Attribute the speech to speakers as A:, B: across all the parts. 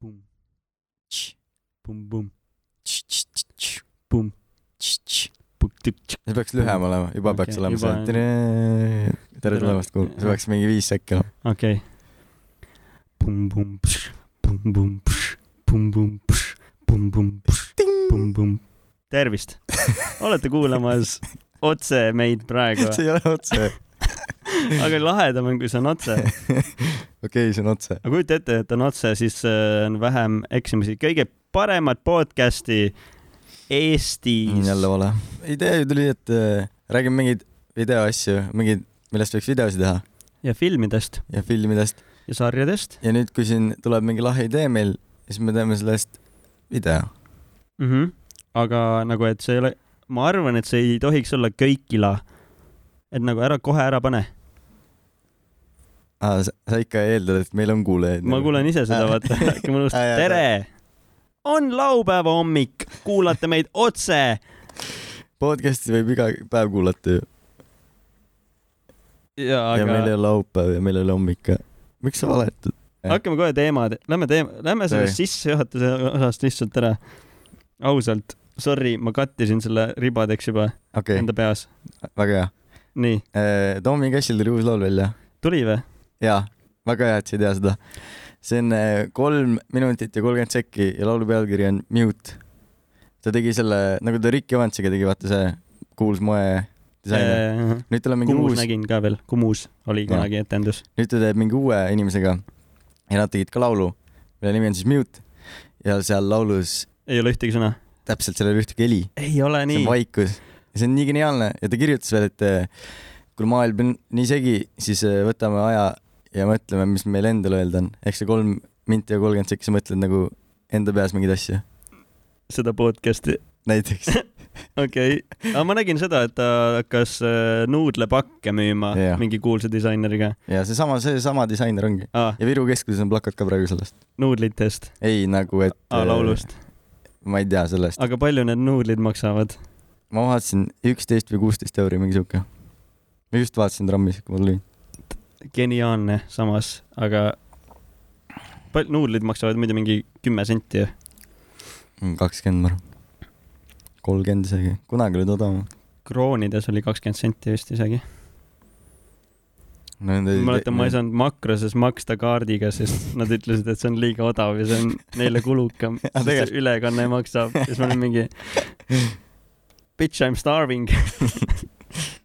A: Boom. Tsch. Boom, boom. Boom.
B: see peaks lühem olema , juba
A: Mm. Okei,
B: okay, peaks olema
A: juba
B: see
A: on-
B: tere ,
A: Tere.
B: tere tulemast , see peaks mingi viis sekki olema .
A: okei . Boom-boom , boom-boom , boom-boom , boom-boom , boom-boom . tervist , olete kuulamas otse meid praegu ,
B: see ei ole otse .
A: aga lahedam on , kui see on otse .
B: okei , see on otse .
A: aga kujuta ette , et on otse , siis äh, on vähem eksimusi . kõige paremat podcast'i Eestis .
B: Mm, jälle vale . idee ju tuli , et äh, räägime mingeid videoasju , mingeid , millest võiks videosi teha
A: ja filmidest
B: ja filmidest .
A: ja sarjadest
B: ja nüüd , kui siin tuleb mingi lahe idee meil , siis me teeme sellest video .
A: mm . -hmm. aga nagu , et see ei ole , ma arvan , et see ei tohiks olla köikila . et nagu ära , kohe ära pane .
B: aa , Ah, sa ikka eeldad , et nagu- meil on kuulajaid ?
A: ma kuulen ise seda , vaata , äkki mul just , tere , on laupäeva hommik , kuulate meid otse .
B: podcast'i võib iga päev kuulata ju
A: ja
B: aga... . ja meil ei
A: aga
B: ole laupäev ja meil ei ole hommik ka . miks sa valetad ?
A: hakkame kohe teemad , lähme teema , lähme sellest sissejuhatuse osast lihtsalt ära . ausalt , sorry , ma kattisin selle ribadeks juba
B: okei
A: enda
B: okay, ,
A: peas .
B: väga hea .
A: nii ,
B: Tommy Cashil tuli uus laul välja .
A: tuli või ?
B: jaa , väga hea , et sa ei tea seda . see on eh, kolm minutit ja kolmkümmend sekki ja laulu pealkiri on Mute . ta tegi selle , nagu ta Rick Evansiga tegi , vaata see kuuls
A: Äh,
B: moedisainer . nüüd tal on mingi
A: Kumus
B: uus ,
A: nägin ka veel , Kumus oli
B: Jah.
A: kunagi etendus .
B: nüüd ta teeb mingi uue inimesega ja nad tegid ka laulu , mille nimi on siis Mute ja seal laulus
A: ei ole ühtegi sõna .
B: täpselt seal ei ole ühtegi heli
A: ei ole
B: see
A: nii
B: on . vaikus . ja see on nii geniaalne ja ta kirjutas veel , et eh, kui maailm on nii segi , siis eh, võtame aja ja mõtleme , mis meil endal öelda on . ehk see kolm minti ja kolmkümmend sekki , sa mõtled nagu enda peas mingeid asju ,
A: seda podcast'i .
B: näiteks .
A: okei okay. , aga ma nägin seda , et ta hakkas äh, nuudlepakke müüma yeah.
B: Jah.
A: mingi kuulsa disaineriga
B: ja seesama , seesama disainer ongi .
A: ah, ,
B: ja Viru keskuses on plakat ka praegu sellest .
A: nuudlitest
B: ei nagu , et
A: ah, , laulust .
B: eh, ma ei tea sellest .
A: aga palju need nuudlid maksavad ?
B: ma vaatasin üksteist või kuusteist euri , mingi sihuke . ma just vaatasin trammis , kui ma tulin .
A: geniaalne samas , aga pal- , nuudlid maksavad muidu mingi kümme senti ju .
B: Mm, kakskümmend , ma arvan . kolmkümmend isegi , kunagi olid odavamad .
A: kroonides oli kakskümmend senti vist isegi .
B: ma
A: ma mäletan , ma ei saanud Makroses maksta kaardiga , sest nad ütlesid , et see on liiga odav ja see on neile kulukam ,
B: Aga
A: sest see ülekanne maksab ja siis ma olin mingi bitch I m starving .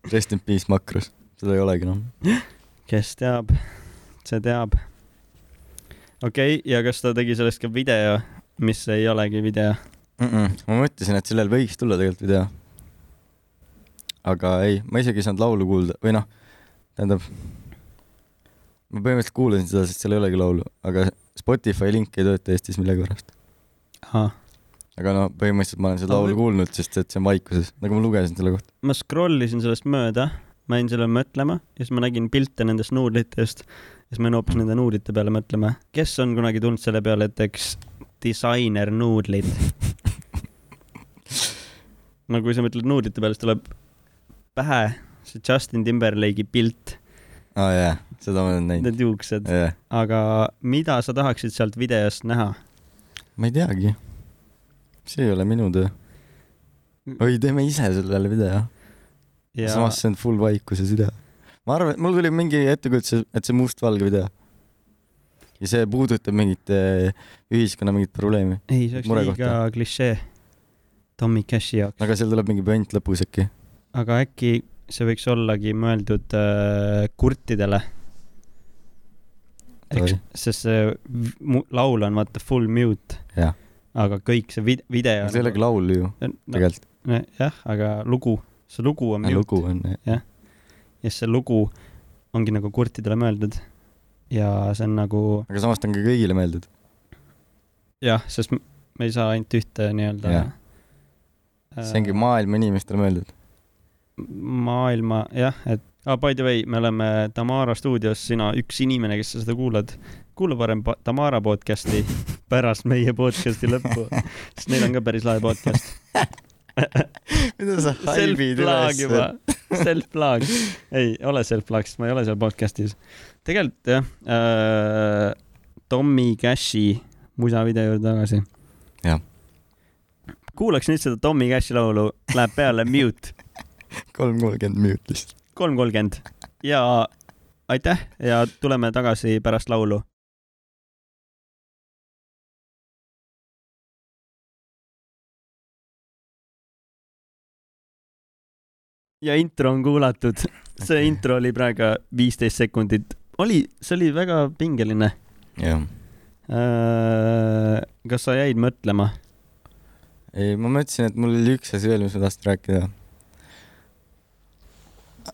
B: Rest in peace Makrus , seda ei olegi noh. enam .
A: kes teab , see teab . okei okay, , ja kas ta tegi sellest ka video , mis ei olegi video ?
B: Mm -mm. ma mõtlesin , et sellel võiks tulla tegelikult video . aga ei , ma isegi ei saanud laulu kuulda või noh , tähendab , ma põhimõtteliselt kuulasin seda , sest seal ei olegi laulu , aga Spotify link ei tööta Eestis millegipärast .
A: ma
B: aga no põhimõtteliselt ma olen seda
A: Aga
B: laulu
A: võib-
B: kuulnud , sest et see on vaikuses , nagu ma lugesin selle kohta .
A: scroll isin sellest mööda , ma jäin sellele mõtlema ja siis ma nägin pilte nendest nuudlitest ja siis ma jäin hoopis nende nuudlite peale mõtlema . kes on kunagi tulnud selle peale , et teeks disainernuudlid ? no kui sa mõtled nuudlite peale , siis tuleb pähe see Justin Timberlake'i pilt ,
B: aa ah, jaa , seda ma olen näinud .
A: need juuksed .
B: jaa ,
A: aga mida sa tahaksid sealt videost näha ?
B: ma ei teagi . see ei ole minu töö . oi , teeme ise sellele video ja... .
A: ja
B: samas see on full vaikuses video . ma arvan , et mul tuli mingi ettekujutus , et see on mustvalge video . ja see puudutab mingit eh, ühiskonna mingit probleemi ,
A: ei , see oleks
B: murekohta.
A: liiga klišee Tommy Cashi jaoks ,
B: aga seal tuleb mingi pönt lõpus äkki .
A: aga äkki see võiks ollagi mõeldud äh, kurtidele .
B: Sorry.
A: sest see v- mu- laul on vaata full mute ,
B: jah ,
A: aga kõik see vid- , video nagu- Äh,
B: see ei olegi laul ju
A: no, .
B: tegelikult ,
A: jah , aga lugu , see lugu on mute
B: lugu on .
A: ja see lugu ongi nagu kurtidele mõeldud . ja see on nagu
B: aga samas ta on ka kõigile meeldib .
A: jah , sest m- me ei saa ainult ühte nii-öelda
B: Jah. . see ongi maailma inimestele meeldib .
A: maailma jah , et ah, by the way , me oleme Tamara stuudios , sina üks inimene , kes sa seda kuulad , kuula parem pa- Tamara podcast'i pärast meie podcast'i lõppu , sest neil on ka päris lahe podcast .
B: mida sa halbid
A: Self-plug juba
B: üles ?,
A: self-plug , ei ole self-plug , sest ma ei ole seal podcast'is . tegelikult jah äh, , Tommy Cashi musavideo juurde tagasi .
B: Jah. .
A: kuulaks nüüd seda Tommy Cashi laulu , läheb peale mute ,
B: kolm kolmkümmend minutit .
A: kolm kolmkümmend ja aitäh ja tuleme tagasi pärast laulu . ja intro on kuulatud . see okay.
B: Okei.
A: intro oli praegu viisteist sekundit . oli , see oli väga pingeline .
B: jah .
A: kas sa jäid mõtlema ?
B: ei , ma mõtlesin , et mul oli üks asi veel , mis ma tahtsin rääkida .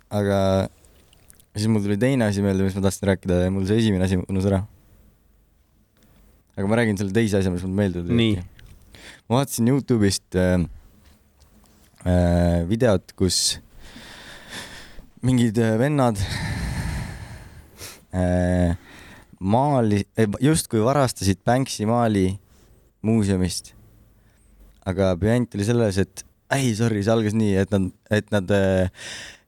B: aga siis mul tuli teine asi meelde , mis ma tahtsin rääkida ja mul see esimene asi unus ära . aga ma räägin selle teise asja , mis mul meelde
A: Nii.
B: tuli . ma vaatasin Youtube'ist äh, äh, videot , kus mingid äh, vennad äh, maali , justkui varastasid Banksy maali muuseumist . aga püant oli selles , et ei , sorry , see algas nii , et nad , et nad ,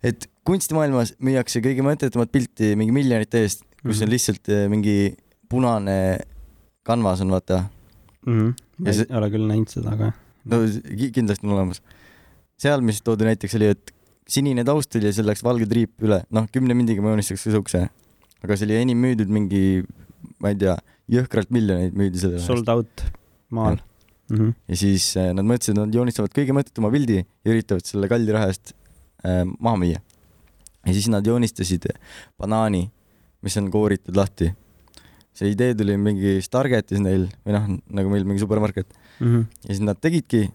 B: et kunstimaailmas müüakse kõige mõttetumat pilti mingi miljonite eest , kus on
A: Mhm.
B: lihtsalt äh, mingi punane kanvas on , vaata .
A: mm . -hmm. ma
B: Ja
A: ei
B: see-
A: see... ole küll näinud seda , aga
B: no ki- kindlasti on olemas . seal , mis toodi näiteks , oli , et sinine taust oli ja seal läks valge triip üle , noh , kümne mindiga ma joonistaks ka siukse . aga see oli enim müüdud mingi , ma ei tea , jõhkralt miljoneid müüdi selle eest .
A: sold out maal . Mm -hmm.
B: ja siis äh, nad mõtlesid , et nad joonistavad kõige mõttetuma pildi ja üritavad selle kalli raha eest äh, maha müüa . ja siis nad joonistasid banaani , mis on kooritud lahti . see idee tuli mingi Stargetis neil või noh , nagu meil mingi supermarket
A: mm -hmm.
B: ja siis nad tegidki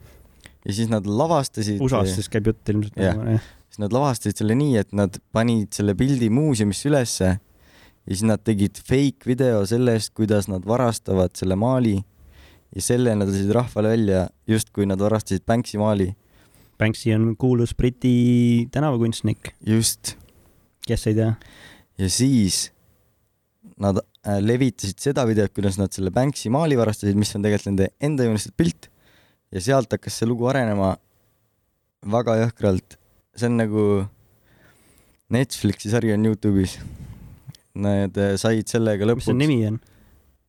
B: ja siis nad lavastasid .
A: USA-s siis käib jutt ilmselt nagu,
B: Jah.
A: yeah. .
B: siis nad lavastasid selle nii , et nad panid selle pildi muuseumisse ülesse ja siis nad tegid fake video sellest , kuidas nad varastavad selle maali ja selle nad lasid rahvale välja , justkui nad varastasid Banksy maali .
A: Banksy on kuulus Briti tänavakunstnik ,
B: just .
A: kes ei tea .
B: ja siis nad äh, levitasid seda videot , kuidas nad selle Banksy maali varastasid , mis on tegelikult nende enda joonistatud pilt ja sealt hakkas see lugu arenema väga jõhkralt . see on nagu Netflixi sari on Youtube'is . Nad äh, said sellega
A: mis selle
B: lõpuks ,
A: nimi on ?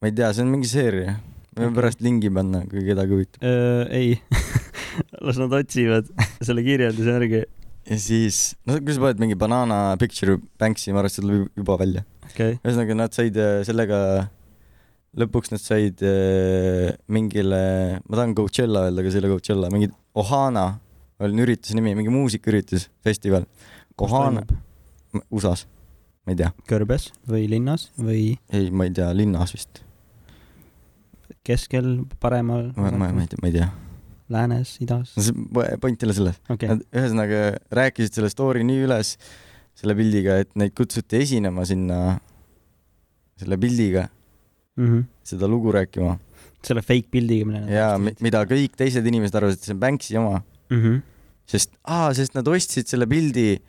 B: ma ei tea , see on mingi seeria , võime
A: Okei.
B: pärast lingi panna , kui kedagi huvitab .
A: ei , las nad otsivad selle kirjelduse järgi .
B: ja siis , no kui sa paned mingi banana picture Banksy , ma arvan , et see tuleb juba välja .
A: okei okay. ,
B: ühesõnaga nad said äh, sellega , lõpuks nad said äh, mingile , ma tahan Coachella öelda , aga see ei ole Coachella , mingi Ohana oli ürituse nimi , mingi muusikaüritus , festival .
A: kus
B: Ohana ,
A: toimub ?
B: USA-s , ma ei tea ,
A: kõrbes või linnas või
B: ei , ma ei tea , linnas vist ,
A: keskel , paremal
B: ma , ma , ma ei tea , ma ei tea .
A: läänes , idas ?
B: no see po- point ei ole selles ,
A: okei ,
B: nad ühesõnaga rääkisid selle story nii üles selle pildiga , et neid kutsuti esinema sinna selle pildiga , seda lugu rääkima
A: Mhm. selle fake pildiga , mille nad
B: ja mi- mida kõik teised inimesed arvasid , et see on Banksy oma
A: mm . -hmm.
B: sest , aa , sest nad ostsid selle pildi .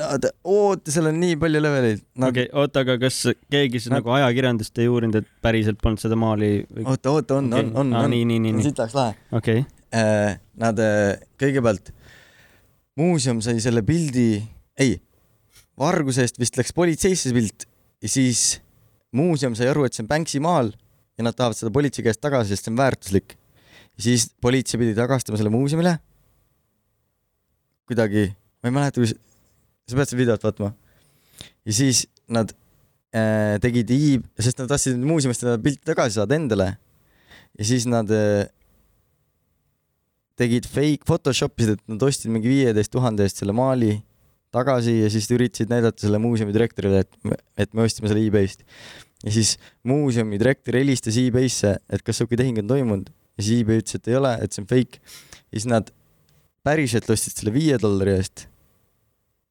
B: Nad , oota , seal on nii palju leveleid .
A: okei okay, , oota , aga kas keegi siis
B: Nad-
A: nad... nagu ajakirjandust ei uurinud , et päriselt polnud seda maali või ?
B: oota , oota , on okay. , on , on ,
A: ah, .
B: on ,
A: nii , nii , nii ,
B: on
A: nii ,
B: sitaks lahe .
A: okei .
B: Nad äh, kõigepealt , muuseum sai selle pildi , ei , varguse eest vist läks politseisse see pilt ja siis muuseum sai aru , et see on Banksy maal ja nad tahavad seda politsei käest tagasi , sest see on väärtuslik . siis politsei pidi tagastama selle muuseumile . kuidagi , ma ei mäleta , kus , sa pead seda videot vaatama . ja siis nad äh, tegid iib , sest nad tahtsid muuseumist seda pilti tagasi saada endale . ja siis nad äh, tegid fake photoshopisid , et nad ostsid mingi viieteist tuhande eest selle maali tagasi ja siis üritasid näidata selle muuseumi direktorile , et me , et me ostsime selle e-Bayst . ja siis muuseumi direktor helistas e-Baysse , et kas sihuke tehing on toimunud ja siis e-Bay ütles , et ei ole , et see on fake . ja siis nad päriselt ostsid selle viie dollari eest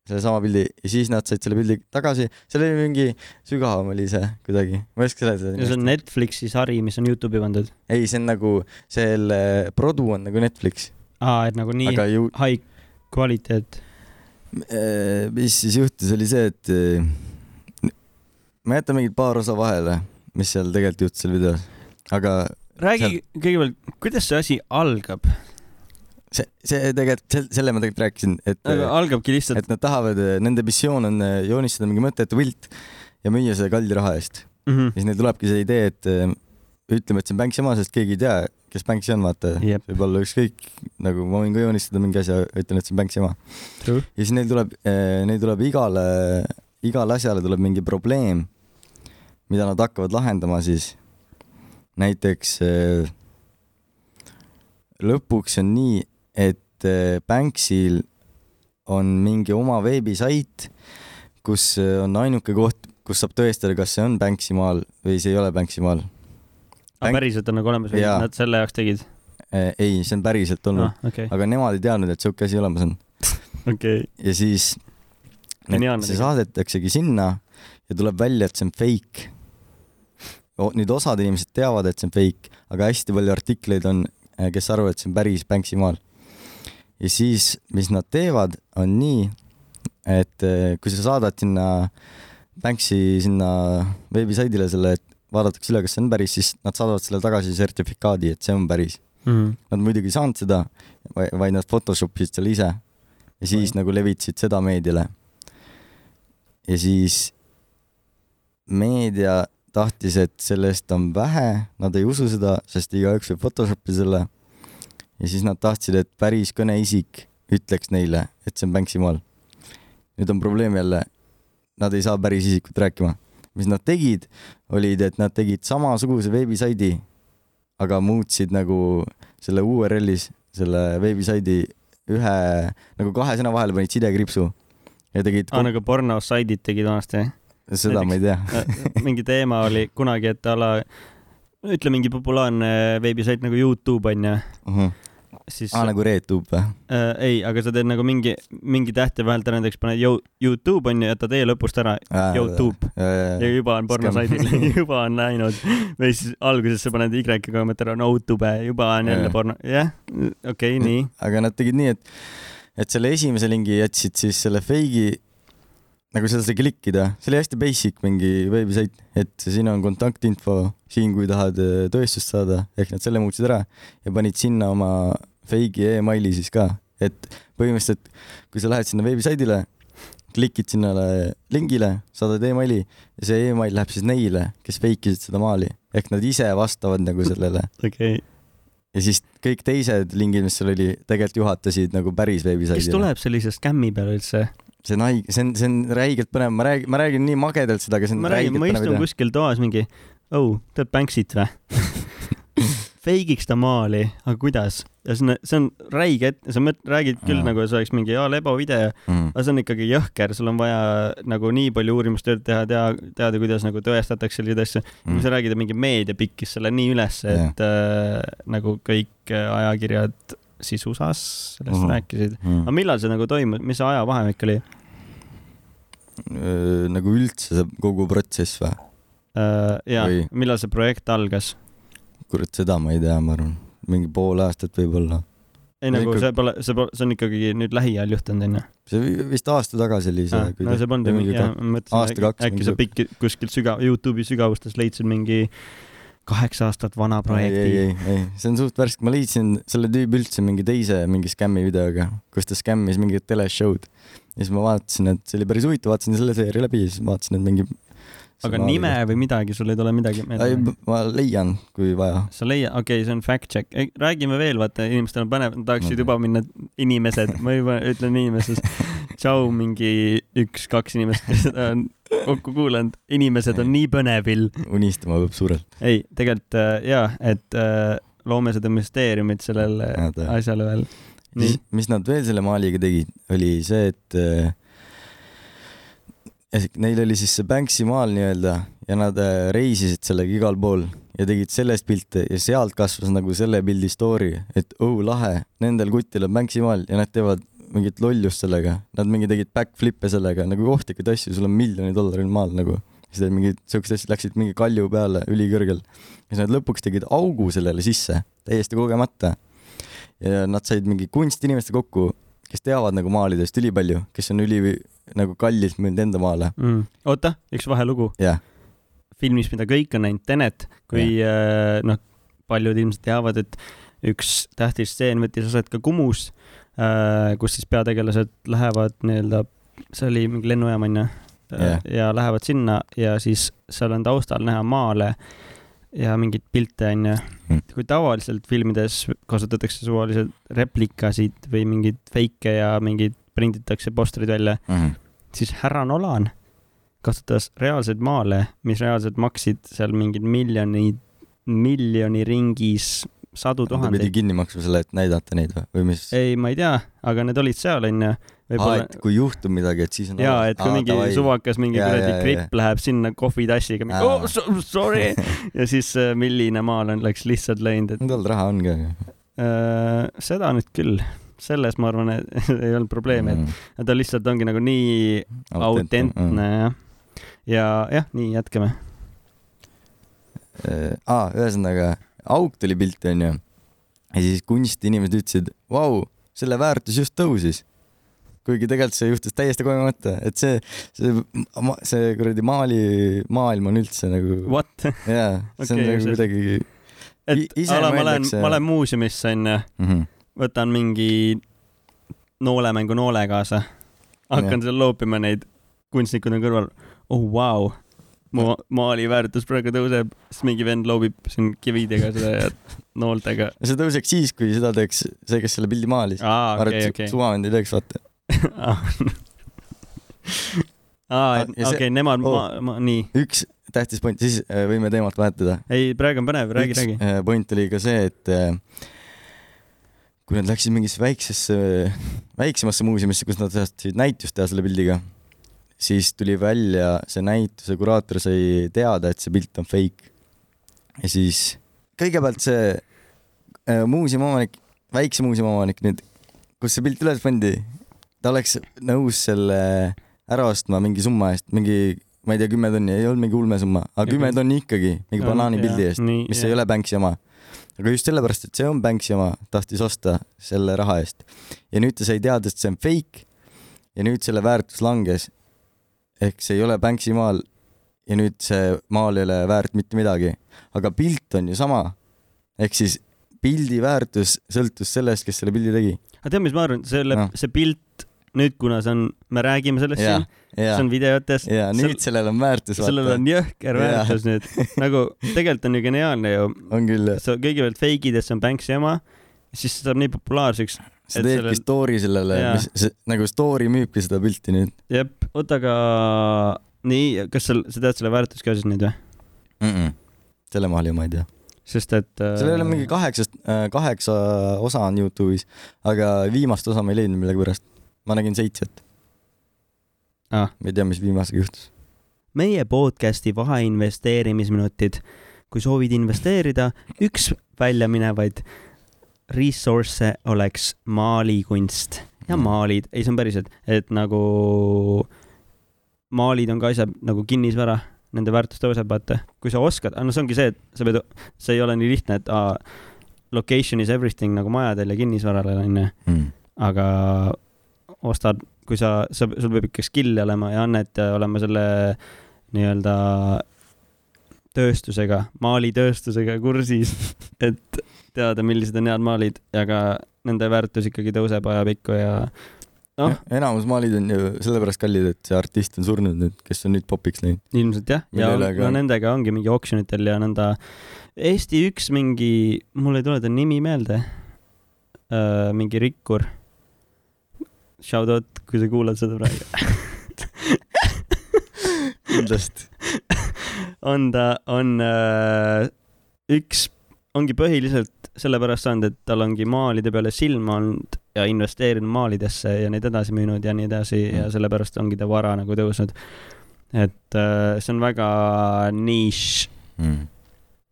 B: sellesama pildi ja siis nad said selle pildi tagasi , seal oli mingi sügavam oli see kuidagi , ma ei oska
A: ja see
B: seletada .
A: on Netflixi sari , mis on Youtube'i pandud .
B: ei , see on nagu , selle produ on nagu Netflix ,
A: aa , et nagu nii
B: aga ju
A: high kvaliteet .
B: Eh, mis siis juhtus , oli see , et eh, ma jätan mingid paar osa vahele , mis seal tegelikult juhtus seal videos , aga
A: räägi kõigepealt , kuidas see asi algab ?
B: see , see tegelikult , selle , selle ma tegelikult rääkisin , et ,
A: Äh, algabki lihtsalt ,
B: et nad tahavad , nende missioon on eh,
A: mhm.
B: joonistada mingi mõttetu pilt ja müüa seda kalli raha eest . ja siis neil tulebki see idee , et eh, ütleme , et see on Banksy oma , sest keegi ei tea , kes Banksy on , vaata .
A: Jep.
B: võib-olla ükskõik , nagu ma võin ka joonistada mingi asja , ütlen , et see on Banksy oma .
A: True .
B: ja siis neil tuleb , neil tuleb igale , igale asjale tuleb mingi probleem , mida nad hakkavad lahendama siis . näiteks eh, lõpuks on nii , et eh, Banksil on mingi oma veebisait , kus eh, on ainuke koht , kus saab tõestada , kas see on Banksi maal või see ei ole Banksi maal .
A: aga
B: Bank-
A: päriselt on nagu olemas või
B: Jaa.
A: nad selle jaoks tegid ?
B: Eh, ei , see on päriselt olnud ,
A: okei ,
B: aga nemad ei teadnud , et sihuke asi olemas on .
A: okei .
B: ja siis
A: Geniaalne
B: see
A: tegelikult.
B: saadetaksegi sinna ja tuleb välja , et see on fake . nüüd osad inimesed teavad , et see on fake , aga hästi palju artikleid on , kes arvavad , et see on päris Banksy maal . ja siis , mis nad teevad , on nii , et eh, kui sa saadad sinna Banksy sinna veebisaidile selle , et vaadatakse üle , kas see on päris , siis nad saadavad selle tagasi sertifikaadi , et see on päris .
A: Mhm.
B: Nad muidugi ei saanud seda , vaid nad Photoshop isid selle ise ja siis nagu levitasid seda meediale . ja siis meedia tahtis , et sellest on vähe , nad ei usu seda , sest igaüks võib Photoshopi selle . ja siis nad tahtsid , et päris kõneisik ütleks neile , et see on Banksy maal . nüüd on probleem jälle , nad ei saa päris isikut rääkima . mis nad tegid , olid , et nad tegid samasuguse veebisaidi , aga muutsid nagu selle URL-is selle veebisaidi ühe nagu kahe sõna vahele panid sidekriipsu ja tegid
A: aa , nagu pornosaidid tegid vanasti ?
B: seda ma ei tea .
A: mingi teema oli kunagi , et ala , ütle mingi populaarne veebisait nagu Youtube onju , siis
B: aa ,
A: äh,
B: nagu RedTube või ?
A: ei , aga sa teed nagu mingi , mingi tähte vahelt ära , näiteks paned yo- Youtube onju , jäta tee E lõpust ära ,
B: Äh,
A: Youtube. ja juba on pornosaidil , juba on läinud . või siis alguses sa paned Y-ga mõtled , no tube , juba on jälle
B: Jah.
A: porno , jah , okei , nii .
B: aga nad tegid nii , et , et selle esimese lingi jätsid siis selle fake'i , nagu seda sai klikkida , see oli hästi basic mingi veebisait , et siin on kontaktinfo , siin kui tahad äh, tõestust saada , ehk nad selle muutsid ära ja panid sinna oma fake'i emaili siis ka , et põhimõtteliselt , kui sa lähed sinna veebisaidile , klikid sinna lingile , saadad emaili ja see email läheb siis neile , kes fake isid seda maali , ehk nad ise vastavad nagu sellele
A: okei okay. ,
B: ja siis kõik teised lingid , mis seal oli , tegelikult juhatasid nagu päris veebisaidile .
A: kes tuleb sellise skämmi peale üldse ?
B: see on haige , see on , see on räigelt põnev , ma räägin , ma räägin nii magedalt seda , aga see on
A: ma räägin ,
B: räigelt
A: ma istun
B: põnev idee .
A: kuskil toas mingi , oh , tead Banksit vä ? Feigiks ta maali , aga kuidas ? ja see on , see on räige , et sa mõt- , räägid küll
B: Jaa.
A: nagu see oleks mingi A Lebo video ,
B: Mm,
A: aga see on ikkagi jõhker , sul on vaja nagu nii palju uurimustööd teha , tea , teada , kuidas nagu tõestatakse selliseid asju .
B: mm,
A: kui sa räägid , et mingi meedia pikkis selle nii üles ,
B: Jah.
A: et äh, nagu kõik äh, ajakirjad siis USA-s sellest
B: Mhm.
A: rääkisid . aga millal see nagu toimus , mis see ajavahemik oli ?
B: nagu üldse see kogu protsess või ?
A: ja
B: Või- ,
A: Äh, millal see projekt algas ?
B: kurat , seda ma ei tea , ma arvan , mingi pool aastat võib-olla .
A: ei
B: No
A: nagu
B: ikka-
A: see pole , see pole , see on ikkagi nüüd lähiajal juhtunud onju .
B: see vi- vist aasta tagasi oli see .
A: Ah, no see polnud ju mingi , jah , ma
B: aasta
A: mõtlesin ,
B: kaks
A: äkki sa
B: mingi-
A: pikki kuskilt süga- , Youtube'i sügavustes leidsid mingi kaheksa aastat vana
B: ei , ei ,
A: projekti .
B: ei , ei , see on suht värske , ma leidsin selle tüübi üldse mingi teise mingi skämmi videoga , kus ta skämmis mingit teleshow'd . ja siis ma vaatasin , et see oli päris huvitav , vaatasin selle seeria läbi ja siis vaatasin , et mingi .
A: aga nime . või midagi , sul ei tule midagi
B: ei
A: meelde ?,
B: ma leian , kui vaja .
A: sa leia- , okei okay, , see on fact check , räägime veel , vaata , inimestel on põnev , nad tahaksid juba minna , inimesed , ma juba ütlen inimesed , tšau , mingi üks-kaks inimest , kes seda on kokku kuulanud , inimesed on nii põnevil .
B: unistama peab suurelt .
A: ei , tegelikult äh, jaa , et äh, loome seda müsteeriumit sellele
B: Ja, tõe.
A: asjale veel . nii
B: mis , mis nad veel selle maaliga tegid , oli see , et äh, ehk neil oli siis see Banksy maal nii-öelda ja nad äh, reisisid sellega igal pool ja tegid sellest pilte ja sealt kasvas nagu selle pildi story , et oh lahe , nendel kutil on Banksy maal ja nad teevad mingit lollust sellega , nad mingi tegid backflip'e sellega nagu ohtlikud asju , sul on miljoni dollari maal nagu . siis teed mingid siuksed asjad , läksid mingi kalju peale ülikõrgel ja siis nad lõpuks tegid augu sellele sisse täiesti kogemata . ja nad said mingi kunstinimeste kokku , kes teavad nagu maalidest ülipalju , kes on üli nagu kallilt müünud enda maale .
A: mm. . oota , üks vahelugu
B: jah ,
A: filmis , mida kõik on näinud , Tenet , kui äh, noh , paljud ilmselt teavad , et üks tähtis stseen võttis aset ka Kumus äh, , kus siis peategelased lähevad nii-öelda , see oli mingi lennujaam äh, onju
B: Jah.
A: yeah. , ja lähevad sinna ja siis seal on taustal näha maale ja mingeid pilte onju
B: Mm. .
A: kui tavaliselt filmides kasutatakse suvaliselt replikasid või mingeid feike ja mingeid prinditakse postreid välja ,
B: mm .
A: siis härra Nolan kasutas reaalseid maale , mis reaalselt maksid seal mingeid miljoneid , miljoni ringis sadu
B: ta pidi
A: tuhandeid .
B: kinni maksma selle , et näidata neid või , või mis ?
A: ei , ma ei tea , aga need olid seal onju .
B: aa ,
A: võib-olla
B: et kui juhtub midagi , et siis on
A: ja et kui mingi
B: davai.
A: suvakas mingi
B: Jaa,
A: kuradi
B: jaa, jaa,
A: gripp läheb sinna kohvitassiga ,
B: Aa.
A: oh so, sorry ja siis äh, milline maal on , läks lihtsalt läinud , et
B: tal raha on ka ju .
A: äh, seda nüüd küll , selles ma arvan , et ei olnud probleemi ,
B: Mhm. Mm.
A: et ta lihtsalt ongi nagu nii autentne . jah . ja jah , nii jätkame .
B: Äh, aa , ühesõnaga , auk tuli pilti , onju . ja siis kunstiinimesed ütlesid , vau , selle väärtus just tõusis . kuigi tegelikult see juhtus täiesti kogemata , et see , see , see kuradi maali , maailm on üldse nagu ,
A: What ?
B: jaa , see on
A: Okei,
B: nagu
A: see-
B: kuidagi
A: et
B: I- ise
A: ala ma lähen ,
B: mõeldakse-
A: ma lähen muuseumisse onju ,
B: mm . -hmm.
A: võtan mingi noolemängu noole kaasa , hakkan seal loopima neid , kunstnikud on kõrval , oh vau wow. mu maali väärtus praegu tõuseb , siis mingi vend loobib siin kividega seda ja nooltega .
B: see tõuseks siis , kui seda teeks see , kes selle pildi maalis .
A: aa ,
B: ma arvan ,
A: Ah, okei ,
B: et
A: okei
B: okay. . suvavend ei teeks , vaata .
A: aa ,
B: Ah,
A: et
B: ja see- Oh.
A: okei , nemad ,
B: oo.
A: ma , ma , nii .
B: üks tähtis point , siis äh, võime teemat vahetada .
A: ei , praegu on põnev , räägi ,
B: üks
A: räägi .
B: äh, point oli ka see , et äh, kui nad läksid mingisse väiksesse , väiksemasse muuseumisse , kus nad tahtsid näitust teha selle pildiga , siis tuli välja , see näituse kuraator sai teada , et see pilt on fake . ja siis kõigepealt see äh, muuseumi omanik , väikse muuseumi omanik nüüd , kus see pilt üles pandi , ta oleks nõus selle ära ostma mingi summa eest , mingi , ma ei tea , kümme tonni , ei olnud mingi ulmesumma , aga
A: Ja
B: kümme
A: küll.
B: tonni ikkagi , mingi banaanipildi eest . mis
A: mis
B: ei ole Banksy oma . aga just sellepärast , et see on Banksy oma , tahtis osta selle raha eest . ja nüüd ta sai teada , et see on fake ja nüüd selle väärtus langes . ehk see ei ole Banksy maal ja nüüd see maal ei ole väärt mitte midagi . aga pilt on ju sama . ehk siis pildi väärtus sõltus sellest , kes selle pildi tegi .
A: aga tead , mis ma arvan , selle
B: Noh. ,
A: see pilt nüüd , kuna see on , me räägime sellest
B: ja
A: siin ,,
B: ja
A: see , on videotes ,
B: ja nüüd sellel on väärtus ,
A: sellel
B: vaata .
A: on jõhker
B: Jaa.
A: väärtus nüüd . nagu tegelikult on ju geniaalne ju ,
B: on küll ,
A: sa kõigepealt feigid , et see on Banksy ema , siis see saab nii populaarseks .
B: sa
A: et
B: teedki
A: sellel-
B: sellel... story sellele
A: Jaa. ,
B: mis see, nagu story müübki seda pilti nüüd
A: jep , oota , aga nii , kas sa , sa tead selle väärtust ka siis nüüd või ?
B: mm . -mm. selle maali ma ei tea .
A: sest et äh,
B: seal ei ole mingi kaheksast , kaheksa osa on Youtube'is , aga viimast osa ma ei leidnud millegipärast . ma nägin seitset .
A: Ah.
B: ma ei tea , mis viimasega juhtus .
A: meie podcasti vaheinvesteerimisminutid . kui soovid investeerida , üks väljaminevaid ressource oleks maalikunst ja maalid , ei , see on päriselt , et nagu maalid on ka asjad nagu kinnisvara , nende väärtus tõuseb , vaata . kui sa oskad , no see ongi see , et sa pead , see ei ole nii lihtne , et aa , location is everything nagu majadel ja kinnisvaral onju ,
B: mm. .
A: aga ostad , kui sa , sa , sul peab ikka skill'i olema ja annet ja olema selle nii-öelda tööstusega , maalitööstusega kursis , et teada , millised on head maalid ja ka nende väärtus ikkagi tõuseb ajapikku ja noh ,
B: enamus maalid on ju sellepärast kallid , et see artist on surnud nüüd , kes on nüüd popiks läinud .
A: ilmselt jah , ja
B: Mille
A: on,
B: üle ka-
A: no nendega ongi mingi oksjonitel ja nõnda . Eesti üks mingi , mul ei tule ta nimi meelde , mingi rikkur . Shout out , kui sa kuulad seda praegu .
B: kindlasti .
A: on ta , on äh, üks , ongi põhiliselt sellepärast saanud , et tal ongi maalide peale silma olnud ja investeerinud maalidesse ja neid edasi müünud ja nii edasi mm. ja sellepärast ongi ta vara nagu tõusnud . et äh, see on väga nišš
B: Mm.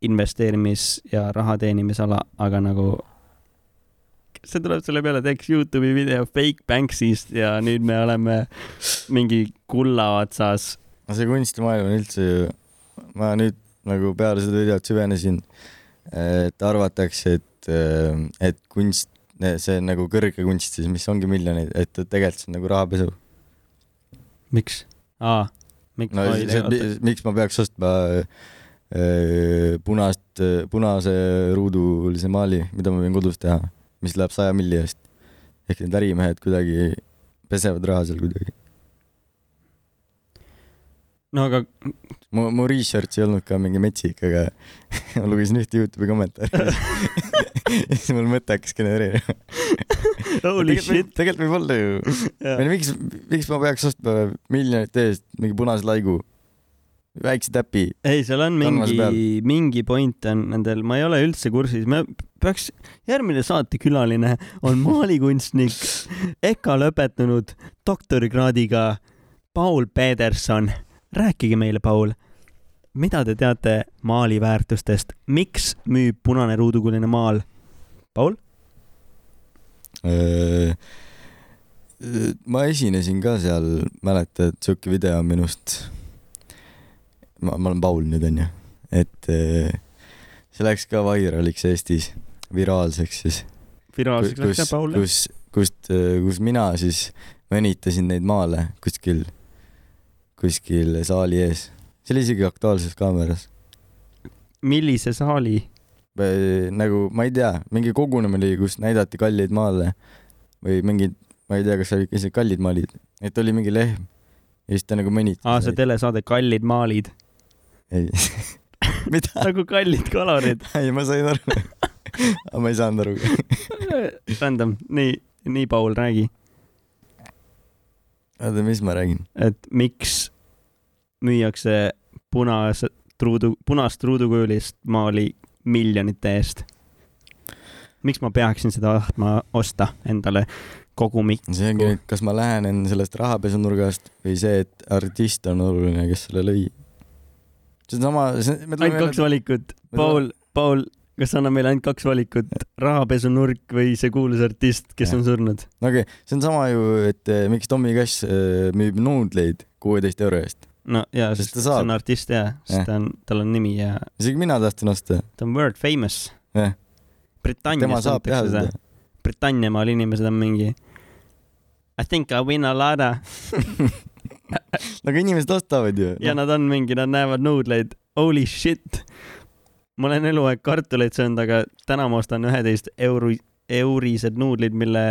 A: investeerimis- ja raha teenimisala , aga nagu see tuleb selle peale , teeks Youtube'i video fake Banksist ja nüüd me oleme mingi kulla otsas
B: see kunstimaailm on üldse ju , ma nüüd nagu peale seda videot süvenesin , et arvatakse , et , et kunst , see on nagu kõrge kunst siis , mis ongi miljoneid , et tegelikult see on nagu rahapesu .
A: miks ? aa , miks
B: no
A: Oi,
B: see,
A: oota.
B: mi- miks ma peaks ostma äh, punast , punase ruudulise maali , mida ma võin kodus teha , mis läheb saja milli eest . ehk need ärimehed kuidagi pesevad raha seal kuidagi .
A: no aga
B: mu , mu research ei olnud ka mingi metsik , aga ma lugesin ühte Youtube'i kommentaari . ja siis mul mõte hakkas genereerima .
A: holy shit .
B: tegelikult võib olla ju , miks , miks ma peaks ostma miljonite eest mingi punase laigu , väikse täpi ,
A: ei , seal on
B: Tarmas peal.
A: mingi , mingi point on nendel , ma ei ole üldse kursis , me peaks , järgmine saatekülaline on maalikunstnik , EKA lõpetanud doktorikraadiga Paul Peterson . rääkige meile , Paul , mida te teate maali väärtustest , miks müüb punane ruudukuline maal ? Paul ,
B: Öö, Äh, ma esinesin ka seal , mäletad , sihuke video minust . ma , ma olen Paul nüüd onju , et öö, see läks ka vairaliks Eestis , viraalseks siis .
A: viraalseks läks jah , Paul .
B: kus , kust , kus mina siis venitasin neid maale kuskil , kuskil saali ees . see oli isegi Aktuaalses Kaameras .
A: millise saali ?
B: nagu ma ei tea , mingi kogunemine oli , kus näidati kalleid maale või mingid , ma ei tea , kas olid isegi kallid maalid , et oli mingi lehm ja siis ta nagu mõnitas .
A: aa , see telesaade Kallid maalid ,
B: ei , mida ?
A: nagu kallid kalorid .
B: ei , ma sain aru . aga ma ei saanud aru .
A: Random , nii , nii , Paul , räägi
B: oota , mis ma räägin ?
A: et miks müüakse punase truudu , punast ruudukujulist maali miljonite eest . miks ma peaksin seda tahtma osta endale kogumik ?
B: see ongi nüüd , kas ma lähenen sellest rahapesunurgast või see , et artist on oluline , kes selle lõi . see on sama , see , me
A: ainult kaks
B: tuleme ,
A: valikut . Paul , Paul , kas sa annad meile ainult kaks valikut , rahapesunurk või see kuulus artist , kes on surnud ?
B: no okei okay, , see on sama ju , et eh, miks Tommy Cash eh, müüb nuudleid kuueteist euro eest .
A: no ja ,
B: Sest
A: sest
B: ta
A: see on
B: saab.
A: artist ja ,
B: Jah.
A: sest ta on , tal on nimi ja
B: isegi mina tahtsin osta .
A: ta on world famous .
B: Jah. tema
A: Britannias
B: saab teha
A: antakse
B: seda
A: seda .. Britanniamaal inimesed on mingi I think I win a lotta
B: aga inimesed ostavad ju .
A: ja nad on mingi , nad näevad nuudleid , holy shit . ma olen eluaeg kartuleid söönud , aga täna ma ostan üheteist euro , eurised nuudlid , mille ,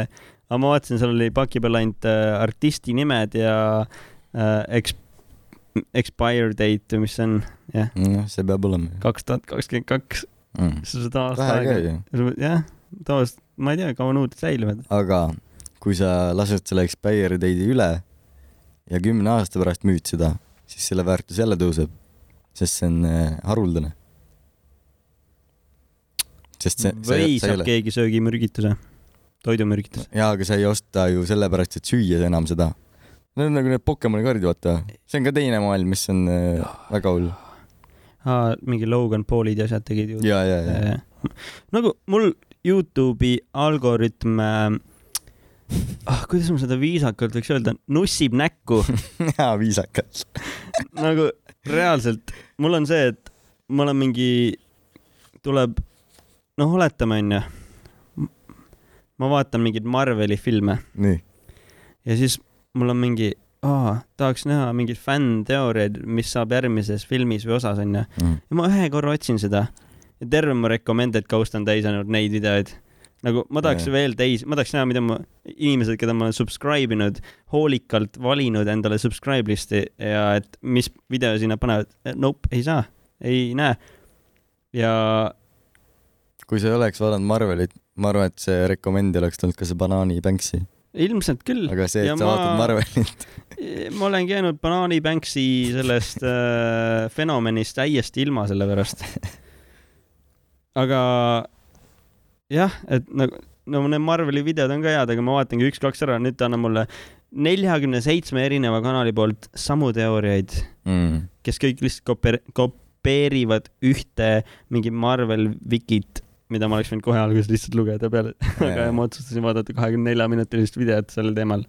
A: aga ma vaatasin , seal oli paki peal ainult äh, artisti nimed ja äh, eks- , expire date või mis see on ,
B: noh , see peab olema ju
A: kaks tuhat kakskümmend kaks ,
B: mm. .
A: seda aasta
B: vähe ka
A: aega .
B: ju .
A: jah , tavaliselt ma ei tea , kaua nuudlid säilivad .
B: aga kui sa lased selle expire date'i üle ja kümne aasta pärast müüd seda , siis selle väärtus jälle tõuseb , sest see on eh, haruldane . sest see , sa
A: või
B: ei , sa ei
A: saab
B: ole ,
A: keegi söögimürgituse , toidumürgituse .
B: jaa , aga sa ei osta ju sellepärast , et süüa sa enam seda . Need on nagu need Pokemoni kaardid , vaata , see on ka teine maailm , mis on eh, väga hull .
A: aa , mingi Logan Paulid ja asjad tegid ju .
B: ja , ja , ja ,
A: Eh, nagu mul Youtube'i algoritm eh, ah, , kuidas ma seda viisakalt võiks öelda , nussib näkku
B: ja viisakalt .
A: nagu reaalselt . mul on see , et ma olen mingi , tuleb , noh , oletame onju , ma vaatan mingeid Marveli filme
B: nii ,
A: ja siis mul on mingi , aa , tahaks näha mingeid fännteooriaid , mis saab järgmises filmis või osas onju . ja ma ühe korra otsin seda ja terve mu recommended kaust on täis ainult neid videoid . nagu ma tahaks
B: Jaa.
A: yeah. veel teisi , ma tahaks näha , mida ma , inimesed , keda ma olen subscribe inud , hoolikalt valinud endale subscribe listi ja et mis video sinna panevad . Nope , ei saa , ei näe . ja
B: kui sa ei oleks vaadanud Marvelit , ma arvan , et see recommend'i oleks tulnud ka see banaani Banksy ,
A: ilmselt küll ,
B: aga see , et
A: Ja
B: sa
A: ma-
B: vaatad Marvelit ,
A: ma olengi jäänud Banaani Banksi sellest äh, fenomenist täiesti ilma selle pärast . aga jah , et nagu , no need Marveli videod on ka head , aga ma vaatangi üks-kaks ära , nüüd ta annab mulle neljakümne seitsme erineva kanali poolt samu teooriaid ,
B: mm. .
A: kes kõik lihtsalt koper- , kopeerivad ühte mingi Marvel Vikit , mida ma oleks võinud kohe alguses lihtsalt lugeda peale , aga ma otsustasin vaadata kahekümne nelja minutilist videot sellel teemal .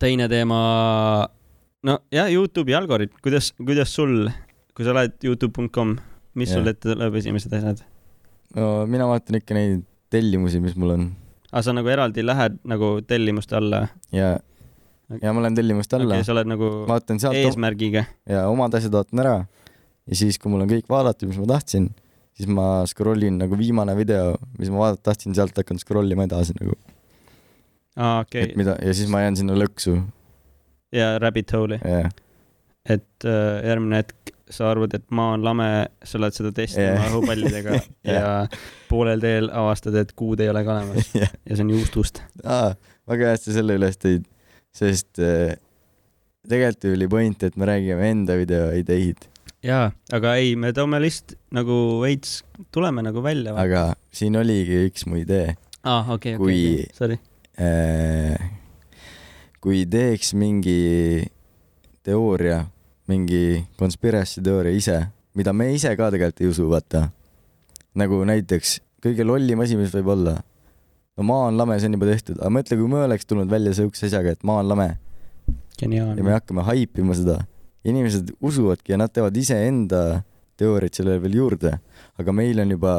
A: teine teema , no ja Youtube'i algoritm , kuidas , kuidas sul , kui sa lähed Youtube.com , mis sul
B: Jah.
A: ette tuleb esimesed asjad ?
B: no mina vaatan ikka neid tellimusi , mis mul on
A: aa , sa nagu eraldi lähed nagu tellimuste alla ,
B: ja , ja ma lähen tellimust alla
A: okei ,
B: okay, ,
A: sa oled nagu
B: vaatan sealt Eesma.
A: eesmärgiga ,
B: ja omad asjad vaatan ära ja siis , kui mul on kõik vaadatud , mis ma tahtsin , siis ma scroll in nagu viimane video , mis ma vaadata tahtsin , sealt hakkan scroll ima edasi nagu
A: aa
B: okay. ,
A: okei
B: et , mida ja siis ma jään sinna lõksu
A: ja rabbit hole'i .
B: ja
A: et äh, järgmine hetk sa arvad , et ma olen lame , sa lähed seda testima
B: Jah.
A: yeah. õhupallidega yeah. ja poolel teel avastad , et kuud ei ole ka olemas
B: jah ,
A: ja see on juustust .
B: väga hea , et sa selle üles tõid , sest äh, tegelikult ju oli point , et me räägime enda videoideid ,
A: jaa , aga ei , me toome lihtsalt nagu veits , tuleme nagu välja .
B: aga siin oligi üks mu idee .
A: aa , okei ,
B: kui-
A: okei , sorry .
B: kui teeks mingi teooria , mingi conspiracy teooria ise , mida me ise ka tegelikult ei usu , vaata . nagu näiteks kõige lollim asi , mis võib olla . no maa on lame , see on juba tehtud , aga mõtle , kui me oleks tulnud välja sihukese asjaga , et maa on lame ja me
A: geniaalne .
B: hakkame haipima seda . inimesed usuvadki ja nad teevad iseenda teooriaid sellele veel juurde , aga meil on juba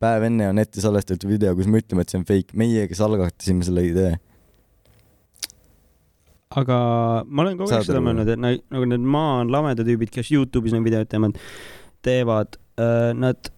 B: päev enne on ette salvestatud video , kus me ütleme , et see on fake , meie , kes algatasime selle idee .
A: aga ma olen kogu aeg
B: Saad
A: seda
B: aru,
A: mõelnud , et na- nagu need maa on lameda tüübid , kes Youtube'is neid videoid teevad , teevad , nad ,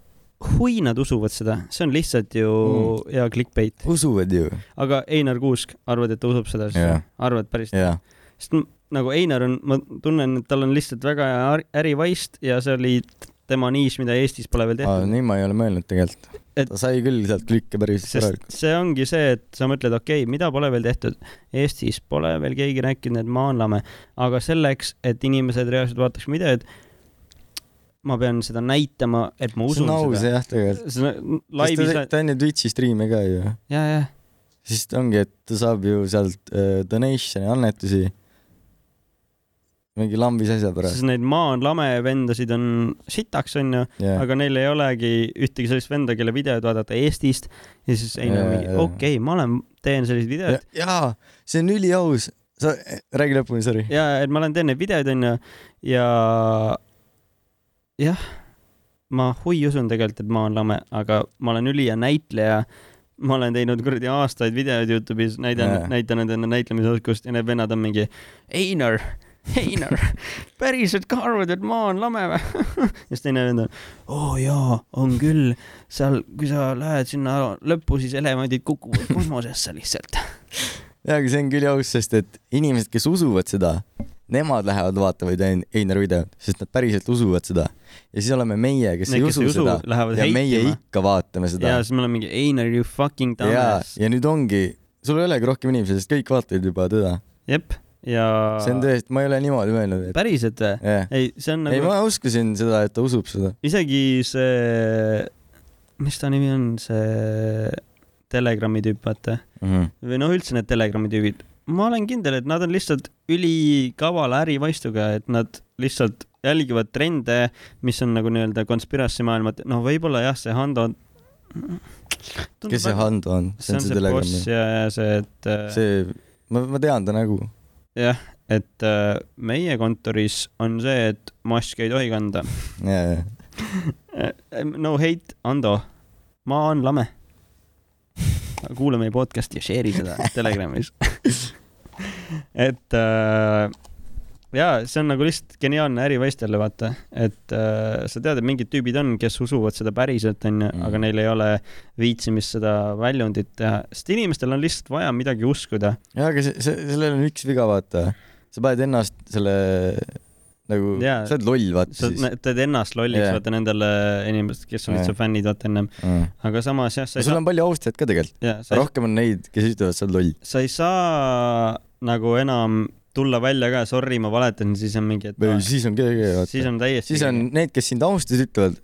A: hui nad usuvad seda , see on lihtsalt ju
B: Mm.
A: hea clickbait .
B: usuvad ju ?
A: aga Einar Kuusk , arvad , et ta usub seda asja
B: Jah.
A: yeah. ? arvad päriselt
B: jaa .
A: yeah. ? sest m- nagu Einar on , ma tunnen , et tal on lihtsalt väga hea ar- ärivaist ja see oli t- tema niis , mida Eestis pole veel tehtud .
B: nii ma ei ole mõelnud tegelikult
A: Et-
B: et... . ta sai küll sealt klikke päris
A: sest
B: korralikult .
A: see ongi see , et sa mõtled , okei okay, , mida pole veel tehtud , Eestis pole veel keegi rääkinud , et maanlame , aga selleks , et inimesed reaalselt vaataks videot , ma pean seda näitama , et ma
B: see
A: usun
B: on aus
A: seda .
B: jah tegelikult .
A: seda laivis
B: laivis ,. ta on ju Twitch'i striime ka ju .
A: ja , ja ,
B: siis ongi , et ta saab ju sealt äh, donation'i , annetusi . mingi lambis asja pärast .
A: sest neid maanlame vendasid on sitaks , onju ,
B: jah ,
A: aga neil ei olegi ühtegi sellist venda , kelle videod vaadata Eestist ja siis ei no
B: Jaa,
A: mingi
B: jaa.
A: okei , ma olen , teen selliseid videoid
B: ja, jaa , see on üliaus . sa , räägi lõpuni , sorry .
A: ja et ma olen teinud neid videoid onju ja jah , ma hui usun tegelikult , et ma olen lame , aga ma olen ülihea näitleja . ma olen teinud kuradi aastaid videoid Youtube'is , näidan
B: Jaa. ,
A: näitan enda näitlemisoskust ja need vennad on mingi Einar , Einar , päriselt ka arvad , et ma olen lame või ? ja siis teine vend on , oo jaa , on küll , seal , kui sa lähed sinna lõppu , siis elevandid kukuvad kosmosesse lihtsalt .
B: jaa , aga see on küll aus , sest et inimesed , kes usuvad seda , nemad lähevad vaatavad Ein- Einar videot , sest nad päriselt usuvad seda . ja siis oleme meie , kes ei usu seda .
A: lähevad
B: ja meie
A: heitima
B: ikka vaatame seda
A: ja . siis me oleme mingi Einar , you fucking
B: ja ,
A: dumbass .
B: ja nüüd ongi , sul ei olegi rohkem inimesi , sest kõik vaatavad juba teda .
A: jep , ja
B: see on tõesti , ma ei ole niimoodi mõelnud , et
A: päriselt või ?
B: jah .
A: ei , see on
B: ei ,
A: nagu ,
B: ma uskusin seda , et ta usub seda .
A: isegi see , mis ta nimi on , see Telegrami tüüp , vaata . või noh , üldse need Telegrami tüübid . ma olen kindel , et nad on lihtsalt ülikavala ärivaistuga , et nad lihtsalt jälgivad trende , mis on nagu nii-öelda konspiratsi maailma , et noh , võib-olla jah , see Hando .
B: kes see Hando on ?
A: see on see boss . ja , ja see , et . äh,
B: see , ma , ma tean ta nagu. nägu .
A: jah , et äh, meie kontoris on see , et maski ei tohi kanda .
B: jaa , jaa .
A: no hate , Ando , ma olen lame . kuula meie podcast'i ja share'i seda Telegramis . et äh, ja see on nagu lihtsalt geniaalne ärivaistele vaata , et äh, sa tead , et mingid tüübid on , kes usuvad seda päriselt onju mm. ,
B: Mm.
A: aga neil ei ole viitsimist seda väljundit teha , sest inimestel on lihtsalt vaja midagi uskuda .
B: jaa , aga see , see , sellel on üks viga , vaata . sa paned ennast selle nagu ,
A: Jaa.
B: sa oled loll , vaata
A: sa
B: siis .
A: nä- teed ennast lolliks yeah.
B: Jaa.
A: vaata nendele inimestele , kes on
B: Jaa.
A: lihtsalt fännid vaata ennem , aga samas jah , sa ei
B: sul
A: saa ,
B: on palju austajaid ka tegelikult .
A: jaa , sa ei ,
B: rohkem on neid , kes ütlevad , sa oled loll .
A: sa ei saa nagu enam tulla välja ka , sorry , ma valetasin , siis on mingi , et
B: või
A: aa,
B: siis on keegi ,
A: siis
B: vaata .
A: on täiesti
B: siis on need , kes sind austasid , ütlevad ,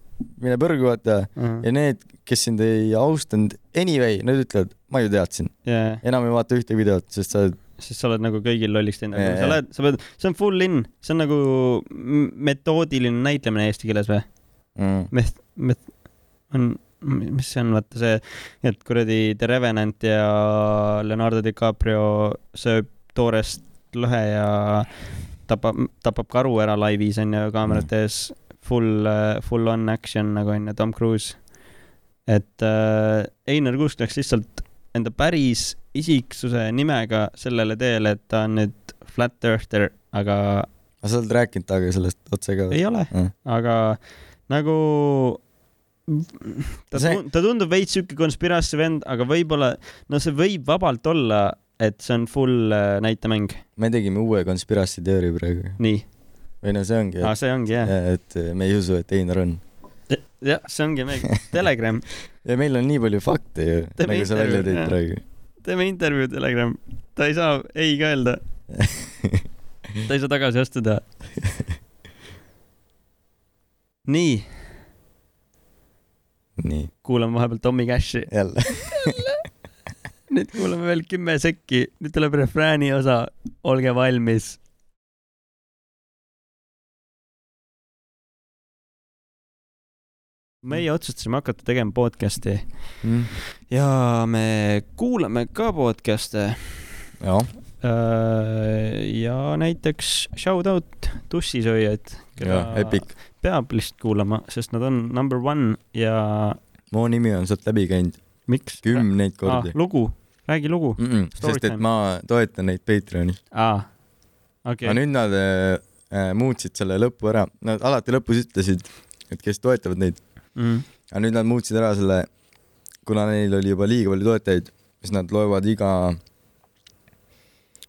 B: mine põrgu , vaata ja
A: on
B: need , kes sind ei austanud , anyway , nad ütlevad , ma ju teadsin ,
A: jah ,
B: enam ei vaata ühte videot , sest sa oled ,
A: sest sa oled nagu kõigil lolliks teinud , aga
B: Jaa,
A: kui sa
B: jaa.
A: lähed , sa pead , see on full in , see on nagu m- metoodiline näitlemine eesti keeles või ?
B: mm,
A: met- , met- , on , mis see on , vaata see , et kuradi The Revenant ja Leonardo DiCaprio sööb toorest lõhe ja tapab , tapab karu ära laivis onju kaamerate ees . Full , full on action nagu onju , Tom Cruise . et äh, Einar Kuusk läks lihtsalt enda päris isiksuse nimega sellele teele , et ta on nüüd flat earther , aga
B: aga sa oled rääkinud temaga sellest otse ka või ?
A: ei ole
B: Mm.
A: aga nagu ta,
B: See-
A: see... ta tundub veits siuke konspiratsi vend , aga võib-olla , no see võib vabalt olla , et see on full äh, näitemäng ,
B: me tegime uue konspiratsiooniteooria praegu .
A: nii .
B: või no see ongi ,
A: aa , see ongi jah .
B: et me ei usu , et Einar on .
A: jah , see ongi meie Telegram ,
B: ja meil on nii palju fakte ju ,
A: Teeme
B: nagu sa välja
A: intervjuu,
B: tõid
A: jah.
B: praegu .
A: teeme intervjuu Telegram , ta ei saa ei ka öelda . ta ei saa tagasi astuda . nii ,
B: nii ,
A: kuulame vahepeal Tommy Cashi ,
B: jälle .
A: nüüd kuulame veel kümme sekki , nüüd tuleb refrääni osa , olge valmis . meie otsustasime hakata tegema podcast'i
B: Mm,
A: ja me kuulame ka podcast'e
B: jah ,
A: Äh, ja näiteks shout out tussisööjaid ,
B: ja Epic .
A: peab lihtsalt kuulama , sest nad on number one ja
B: mu nimi on sealt läbi käinud
A: miks ?
B: kümneid kordi .
A: lugu , räägi lugu .
B: Mm -mm,
A: Ah.
B: sest et
A: Storytime.
B: ma toetan neid Patreonis
A: aa , okei
B: okay. , aga nüüd nad äh, äh, muutsid selle lõpu ära , nad alati lõpus ütlesid , et kes toetavad neid ,
A: mm.
B: aga nüüd nad muutsid ära selle , kuna neil oli juba liiga palju toetajaid , siis nad loevad iga ,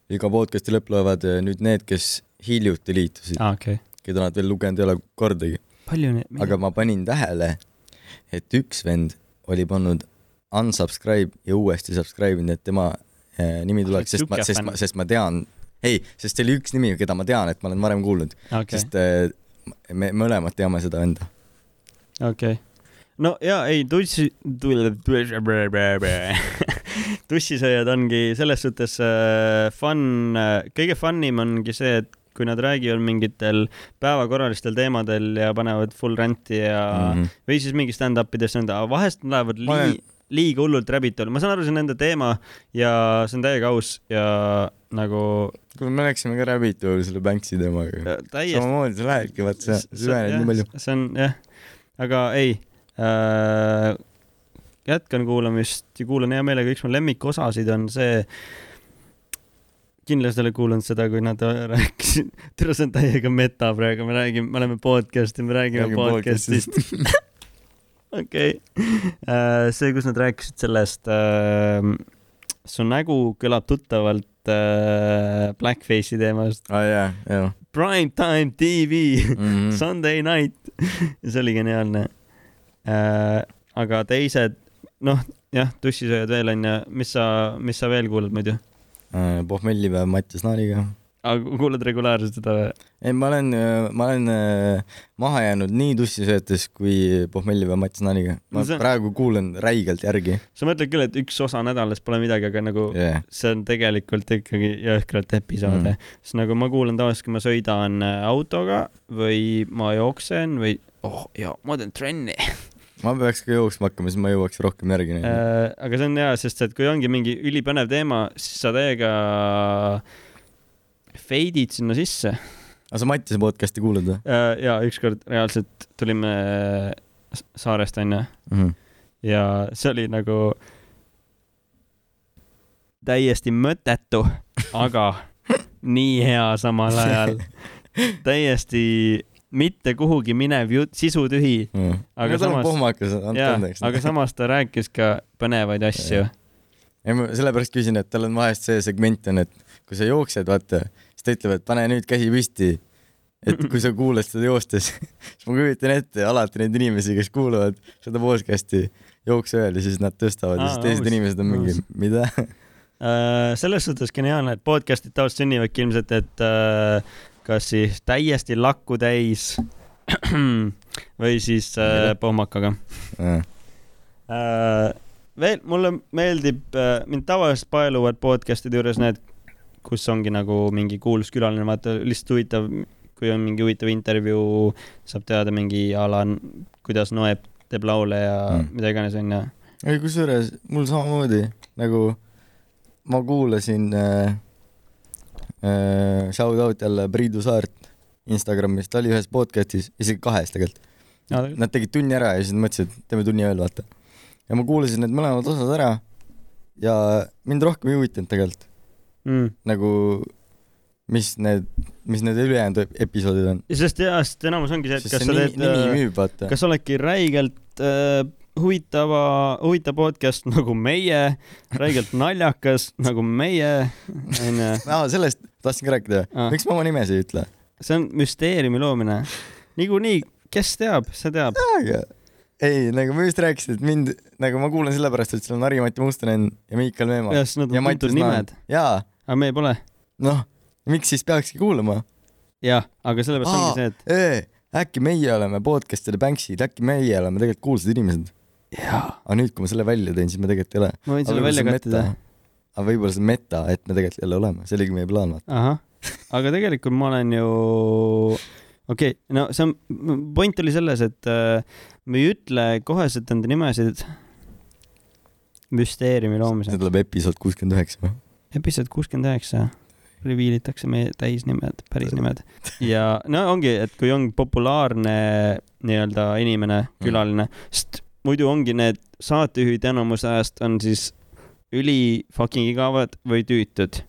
B: iga podcast'i lõpp loevad äh, nüüd need , kes hiljuti liitusid ,
A: aa okei okay. .
B: keda nad veel lugenud ei ole kordagi ,
A: palju neid ,
B: aga ma panin tähele , et üks vend oli pannud unsubscribe ja uuesti subscribe inud , et tema äh, nimi
A: Ah,
B: tuleks ,
A: see
B: sest ma ,
A: sihuke
B: sest
A: fänn.
B: ma , sest ma tean , ei , sest see oli üks nimi , keda ma tean , et ma olen varem kuulnud okay. ,
A: okei ,
B: sest äh, me mõlemad teame seda enda .
A: okei . no ja ei , tussi , tussisööjad ongi selles suhtes äh, fun , kõige fun im ongi see , et kui nad räägivad mingitel päevakorralistel teemadel ja panevad full rant'i ja mm
B: Mhm.
A: -hmm. või siis mingi stand-up ides nõnda , vahest nad lähevad
B: Ma
A: lii- , liiga hullult räbitule , ma saan aru , see on nende teema ja see on täiega aus ja nagu
B: kuule , me läksime ka Rabbitool selle Banksy teemaga .
A: äh, täiesti .
B: samamoodi sa lähedki , vaat sa süvened nii palju ..
A: see on jah , aga ei äh, , jätkan kuulamist ja kuulan hea meelega , üks mu lemmikosasid on see , kindlasti olen kuulanud seda , kui nad rääkisid , tere , see on täiega meta praegu , me räägime , me oleme podcast'i , me räägime podcast'ist . okei okay. , see , kus nad rääkisid sellest , su nägu kõlab tuttavalt äh, Blackface'i teemast ,
B: aa jaa , jaa .
A: prime time tv ,
B: Mhm. Mm.
A: Sunday night , see oli geniaalne äh, . aga teised , noh , jah , tussisööjad veel onju , mis sa , mis sa veel kuulad muidu ?
B: pohmellipäev Mattias Naariga .
A: kuulad regulaarselt seda või ?
B: ei , ma olen , ma olen äh, maha jäänud nii tussisöötes kui pohmellipäev Mattias Naariga . ma
A: No see-
B: praegu kuulan räigelt järgi
A: sa mõtled küll , et üks osa nädalas pole midagi , aga nagu
B: yeah. .
A: see on tegelikult ikkagi jõhkralt episoode mm. , sest nagu ma kuulan tavaliselt , kui ma sõidan äh, autoga või ma jooksen või oh jaa , ma teen trenni äh, .
B: ma peaks ka jooksma hakkama , siis ma jõuaks rohkem järgi äh. .
A: aga see on hea , sest et kui ongi mingi ülipõnev teema , siis sa täiega feidid sinna sisse
B: aga sa Mattiase podcast'i kuulad või
A: äh, . ja ükskord reaalselt tulime s- saarest onju
B: mm. ?
A: ja see oli nagu täiesti mõttetu , aga nii hea samal ajal . täiesti mitte kuhugi minev jutt , sisutühi ,
B: Mm.
A: Aga
B: ta on
A: samas-
B: pohmakas , andke andeks .
A: aga samas ta rääkis ka põnevaid asju .
B: ei , ma sellepärast küsin , et tal on vahest see segment on , et kui sa jooksed , vaata , siis ta ütleb , et pane nüüd käsi püsti . et kui sa kuulad seda joostes , siis ma kujutan ette alati neid inimesi , kes kuulavad seda podcast'i jooksu ajal ja siis nad tõstavad ja
A: Aa,
B: siis teised
A: aus,
B: inimesed on mingi
A: aus. ,
B: mida ?
A: Äh, selles suhtes geniaalne , et podcast'id tavaliselt sünnivadki ilmselt , et äh, kas siis täiesti lakku täis või siis äh, pohmakaga . Äh, veel mulle meeldib , mind tavaliselt paeluvad podcast'ide juures need , kus ongi nagu mingi kuulus külaline , vaata lihtsalt huvitav , kui on mingi huvitav intervjuu , saab teada mingi ala , kuidas Noeb teeb laule ja
B: Mm.
A: mm. mida iganes onju .
B: ei , kusjuures mul samamoodi nagu ma kuulasin äh, äh, shout out jälle Priidu Saart Instagramis , ta oli ühes podcast'is , isegi kahes tegelikult . Nad tegid tunni ära ja siis mõtlesid , et teeme tunni veel , vaata . ja ma kuulasin need mõlemad osad ära ja mind rohkem ei huvitanud tegelikult
A: Mm.
B: nagu , mis need , mis need ülejäänud episoodid on .
A: sest jah , sest enamus ongi see , et
B: sest
A: kas
B: see
A: sa
B: nimi,
A: teed , äh,
B: nimi müüb , vaata .
A: kas sa oledki räigelt äh, huvitava , huvitav podcast nagu meie , räigelt naljakas nagu meie , onju .
B: aa , sellest tahtsingi rääkida
A: Aa.
B: ah. . miks ma oma nimesid ei ütle ?
A: see on müsteeriumi loomine . niikuinii , kes teab , see teab .
B: aga ei , nagu ma just rääkisin , et mind , nagu ma kuulan sellepärast , et seal on Harri-Mati Mustonen ja Miikal Meemal .
A: jah , sest nad
B: ja
A: on
B: Mattias
A: tuntud
B: Nael
A: nimed ,.
B: jaa ,
A: aga me pole .
B: noh , miks siis peakski kuulama ?
A: jah , aga sellepärast
B: Aa.
A: ongi see , et
B: äkki meie oleme podcast'ide banksid , äkki meie oleme tegelikult kuulsad inimesed . aga nüüd , kui ma selle välja tõin , siis me tegelikult ei ole .
A: ma võin selle välja kattida .
B: aga võib-olla see on meta , et me tegelikult jälle oleme , see oligi meie plaan , vaata .
A: ahah , aga tegelikult ma olen ju , okei okay, , no see on , point oli selles , et äh, me ei ütle koheselt enda nimesid müsteeriumi loomisel .
B: see tuleb episood kuuskümmend üheksa noh. või ?
A: episood kuuskümmend üheksa reveal itakse meie täisnimed , pärisnimed ja no ongi , et kui on populaarne nii-öelda inimene ,
B: Mm.
A: külaline , sest muidu ongi need saatejuhid enamuse ajast on siis üli fucking igavad või tüütud .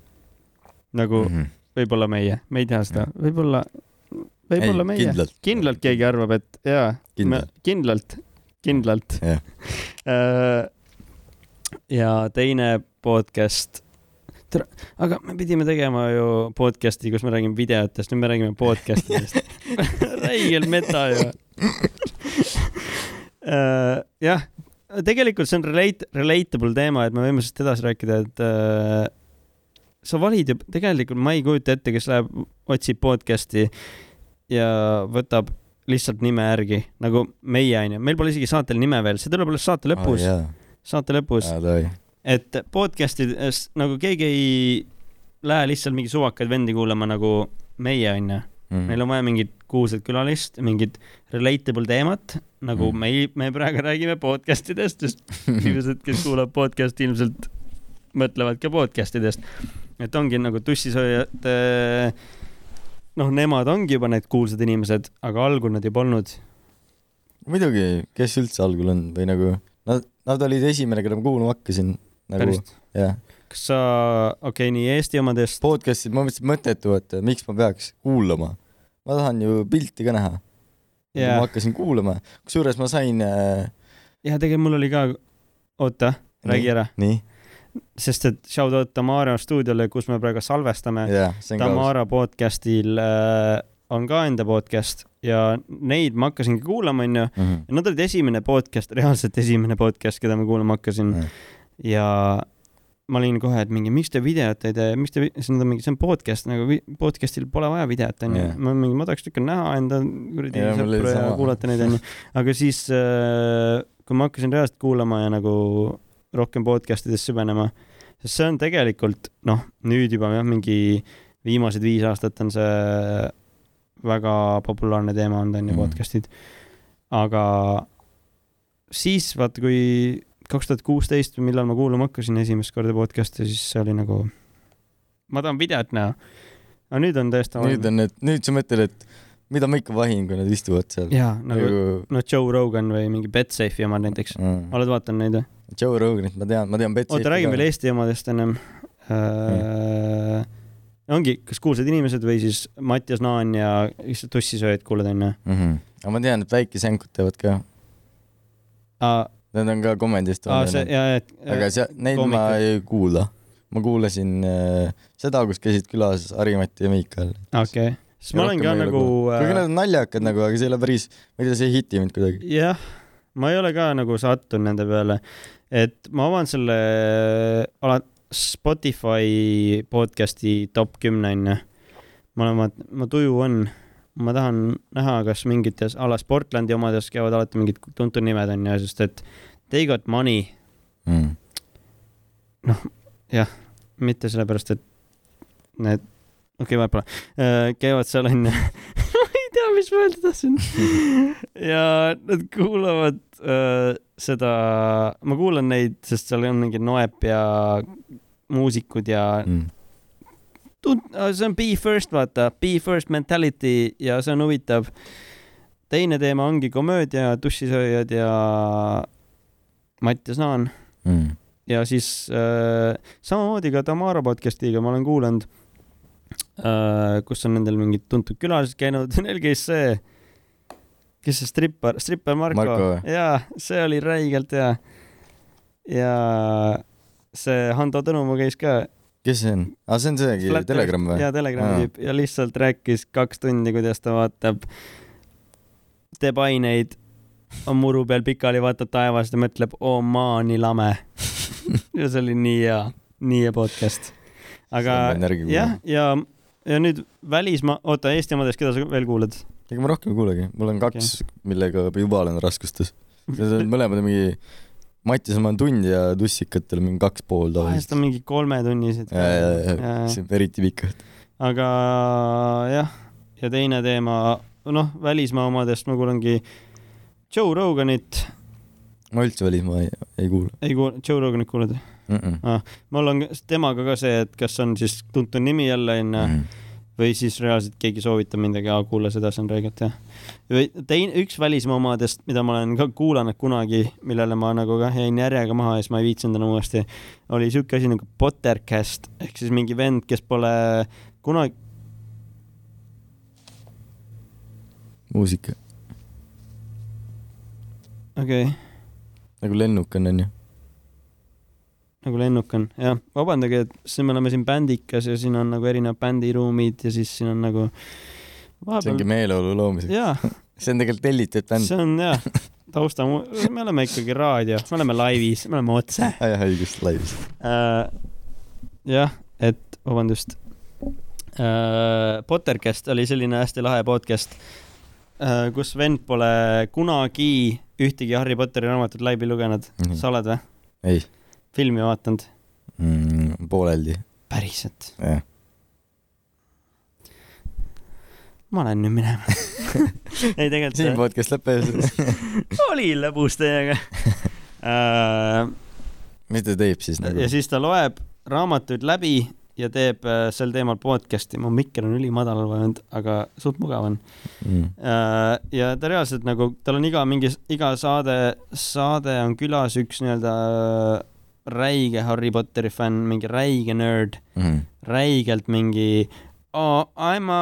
A: nagu
B: Mhm.
A: võib-olla meie , me ei tea seda , võib-olla , võib-olla meie .
B: kindlalt .
A: kindlalt keegi arvab , et jaa ,
B: Kindlalt.
A: kindlalt , kindlalt
B: Jah. .
A: Äh, ja teine podcast . tere , aga me pidime tegema ju podcast'i , kus me räägime videotest , nüüd me räägime podcast idest . räigel meta ju . Äh, jah , tegelikult see on relate , relatable teema , et me võime sellest edasi rääkida , et äh, sa valid ju , tegelikult ma ei kujuta ette , kes läheb , otsib podcast'i ja võtab lihtsalt nime järgi , nagu meie onju , meil pole isegi saatel nime veel , see tuleb alles saate lõpus ,
B: jaa ,
A: saate lõpus ,
B: davai .
A: et podcast'ides nagu keegi ei lähe lihtsalt mingi suvakaid vendi kuulama nagu meie onju ,
B: Mm. Mhm.
A: meil on vaja mingit kuulsat külalist , mingit relatable teemat , nagu
B: Mm.
A: mm. me , me praegu räägime podcast idest , sest inimesed , kes kuulavad podcast'i ilmselt mõtlevad ka podcast idest . et ongi nagu tussisööjad , noh , nemad ongi juba need kuulsad inimesed , aga algul nad ei polnud .
B: muidugi , kes üldse algul on või nagu , nad , nad olid esimene , keda ma kuulama hakkasin nagu ,
A: päris ,
B: jah .
A: kas sa , okei okay, , nii Eesti omadest ,
B: podcast'id , ma mõtlesin mõttetu , et äh, miks ma peaks kuulama . ma tahan ju pilti ka näha .
A: Jaa.
B: ma hakkasin kuulama , kusjuures ma sain äh, ,
A: jah , tegelikult mul oli ka , oota , räägi ära ,
B: nii ,
A: sest et shout out Tamara stuudiole , kus me praegu salvestame .
B: jaa , see on ka ,
A: Tamara podcast'il äh, on ka enda podcast ja neid ma hakkasingi kuulama , onju .
B: Mhm.
A: ja nad olid esimene podcast , reaalselt esimene podcast , keda ma kuulama hakkasin
B: Mm.
A: ja ma olin kohe , et mingi , miks te videot ei tee , miks te , siis nad on mingi , see on podcast nagu , podcast'il pole vaja videot onju
B: Jah. ,
A: ma mingi , ma tahaks ikka näha enda kuradi
B: Jah, mul oli
A: sõpru ja
B: sama.
A: kuulata neid onju , aga siis äh, kui ma hakkasin reaalselt kuulama ja nagu rohkem podcast idest süvenema , sest see on tegelikult noh , nüüd juba jah , mingi viimased viis aastat on see väga populaarne teema olnud onju
B: Mhm.
A: mm. podcast'id , aga siis vaata , kui kaks tuhat kuusteist või millal ma kuulama hakkasin esimest korda podcast'i , siis see oli nagu , ma tahan videot näha . aga nüüd on täiesti
B: nüüd on need , nüüd sa mõtled , et mida ma ikka vahin , kui nad istuvad seal .
A: jaa , nagu noh , Joe Rogan või mingi Betsafe'i omad näiteks .
B: mm.
A: oled vaadanud neid või ?
B: Joe Roganit ma tean , ma tean .
A: oota , räägime veel . Eesti omadest ennem äh, . ongi , kas kuulsad inimesed või siis Mattias Naan ja lihtsalt tussisööjad kuulad onju .
B: Mhm. aga ma tean , et väikesänkud teevad ka ,
A: aa ,
B: nad on ka Comedy
A: Ah, see ,
B: Estonial .
A: jaa ,
B: aga
A: jaa ,
B: seal , neid ma
A: koomikud.
B: ei kuula . ma kuulasin äh, seda , kus käisid külas Harri-Mati ja Miikal .
A: okei . siis ma olen
B: Rohkem
A: ka
B: ei ole
A: nagu .
B: kuigi nad on naljakad nagu , aga see ei ole päris , ma ei tea , see ei hiti mind kuidagi .
A: jah , ma ei ole ka nagu sattunud nende peale , et ma avan selle ala- , Spotify podcast'i top kümne onju . ma olen , ma , ma tuju on , ma tahan näha , kas mingites a la Sportlandi omades käivad alati mingid tuntud nimed onju , sest et They Got Money ,
B: mm. .
A: mitte sellepärast , et need , okei okay, , võib-olla , käivad seal onju . ma ei tea , mis ma öelda tahtsin . ja nad kuulavad äh, seda , ma kuulan neid , sest seal on mingi Noep ja muusikud ja
B: Mm.
A: tund- , see on be first , vaata , be first mentality ja see on huvitav . teine teema ongi komöödia , dušisööjad ja Mattias Naan
B: Mm.
A: ja siis äh, samamoodi ka Tamara podcast'iga ma olen kuulanud äh, , kus on nendel mingid tuntud külalised käinud , neil käis see , kes see strippar , strippar Marko,
B: Marko
A: Marko.
B: või? ,
A: jaa , see oli räigelt hea . ja see Hando Tõnumaa käis ka
B: kes see on ? aa , see on seegi
A: Flatterist-
B: Telegram või ?
A: jaa , Telegrami
B: Aa.
A: tüüp ja lihtsalt rääkis kaks tundi , kuidas ta vaatab , teeb aineid , on muru peal pikali , vaatab taevast ja mõtleb , oo maa on nii lame . ja see oli nii hea , nii hea podcast . aga jah , ja , ja nüüd välismaa , oota , Eesti omades , keda sa veel kuulad ?
B: ega ma rohkem ei kuulegi , mul on kaks okay. , millega juba olen raskustes . Need on mõlemad on mingi , Matis oma on tund ja tussikatel mingi kaks pool
A: vahest
B: tavaliselt .
A: on mingi kolmetunnised .
B: see on eriti pikk .
A: aga jah , ja teine teema , noh , välismaa omadest ma kuulangi Joe Roganit ,
B: ma üldse välismaa ei, ei kuula
A: ei kuul- , Joe Roganit kuulad ?
B: mm .
A: mul on temaga ka see , et kas on siis tuntud nimi jälle onju
B: -mm.
A: või siis reaalselt keegi soovitab midagi , aa kuula seda , see on räigelt hea . või teine , üks välismaa omadest , mida ma olen ka kuulanud kunagi , millele ma nagu kah jäin järjega maha ja siis ma ei viitsinud enam uuesti , oli siuke asi nagu Pottercast ehk siis mingi vend , kes pole kunagi ,
B: muusika ,
A: okei okay, ,
B: nagu lennuk on onju .
A: nagu lennuk on , jah , vabandage , et siis me oleme siin bändikas ja siin on nagu erinevad bändiruumid ja siis siin on nagu
B: see ongi
A: vahepeal ,
B: meeleolu loomiseks .
A: jaa
B: see on tegelikult tellitud bänd .
A: see on jah , tausta , me oleme ikkagi raadio , me oleme laivis , me oleme otse äh, .
B: jah , õigust , laivis .
A: jah , et vabandust äh, . Pottercast oli selline hästi lahe podcast äh, , kus vend pole kunagi ühtegi Harry Potteri raamatut läbi lugenud . sa oled või ?
B: ei
A: filmi vaatanud ?
B: mm, , pooleldi ,
A: päriselt ?
B: jah .
A: ma lähen nüüd minema . ei ,
B: siin
A: tegelikult
B: podcast lõpeb .
A: oli lõbus teiega äh, .
B: mis ta teeb siis nagu
A: ja ? siis ta loeb raamatuid läbi ja teeb äh, sel teemal podcast'i , mu mikker on ülimadalal vajanud , aga suht mugav on .
B: Mm.
A: ja ta reaalselt nagu , tal on iga mingi , iga saade , saade on külas üks nii-öelda äh, räige Harry Potteri fänn , mingi räige nörd ,
B: Mm.
A: räigelt mingi oh, I m a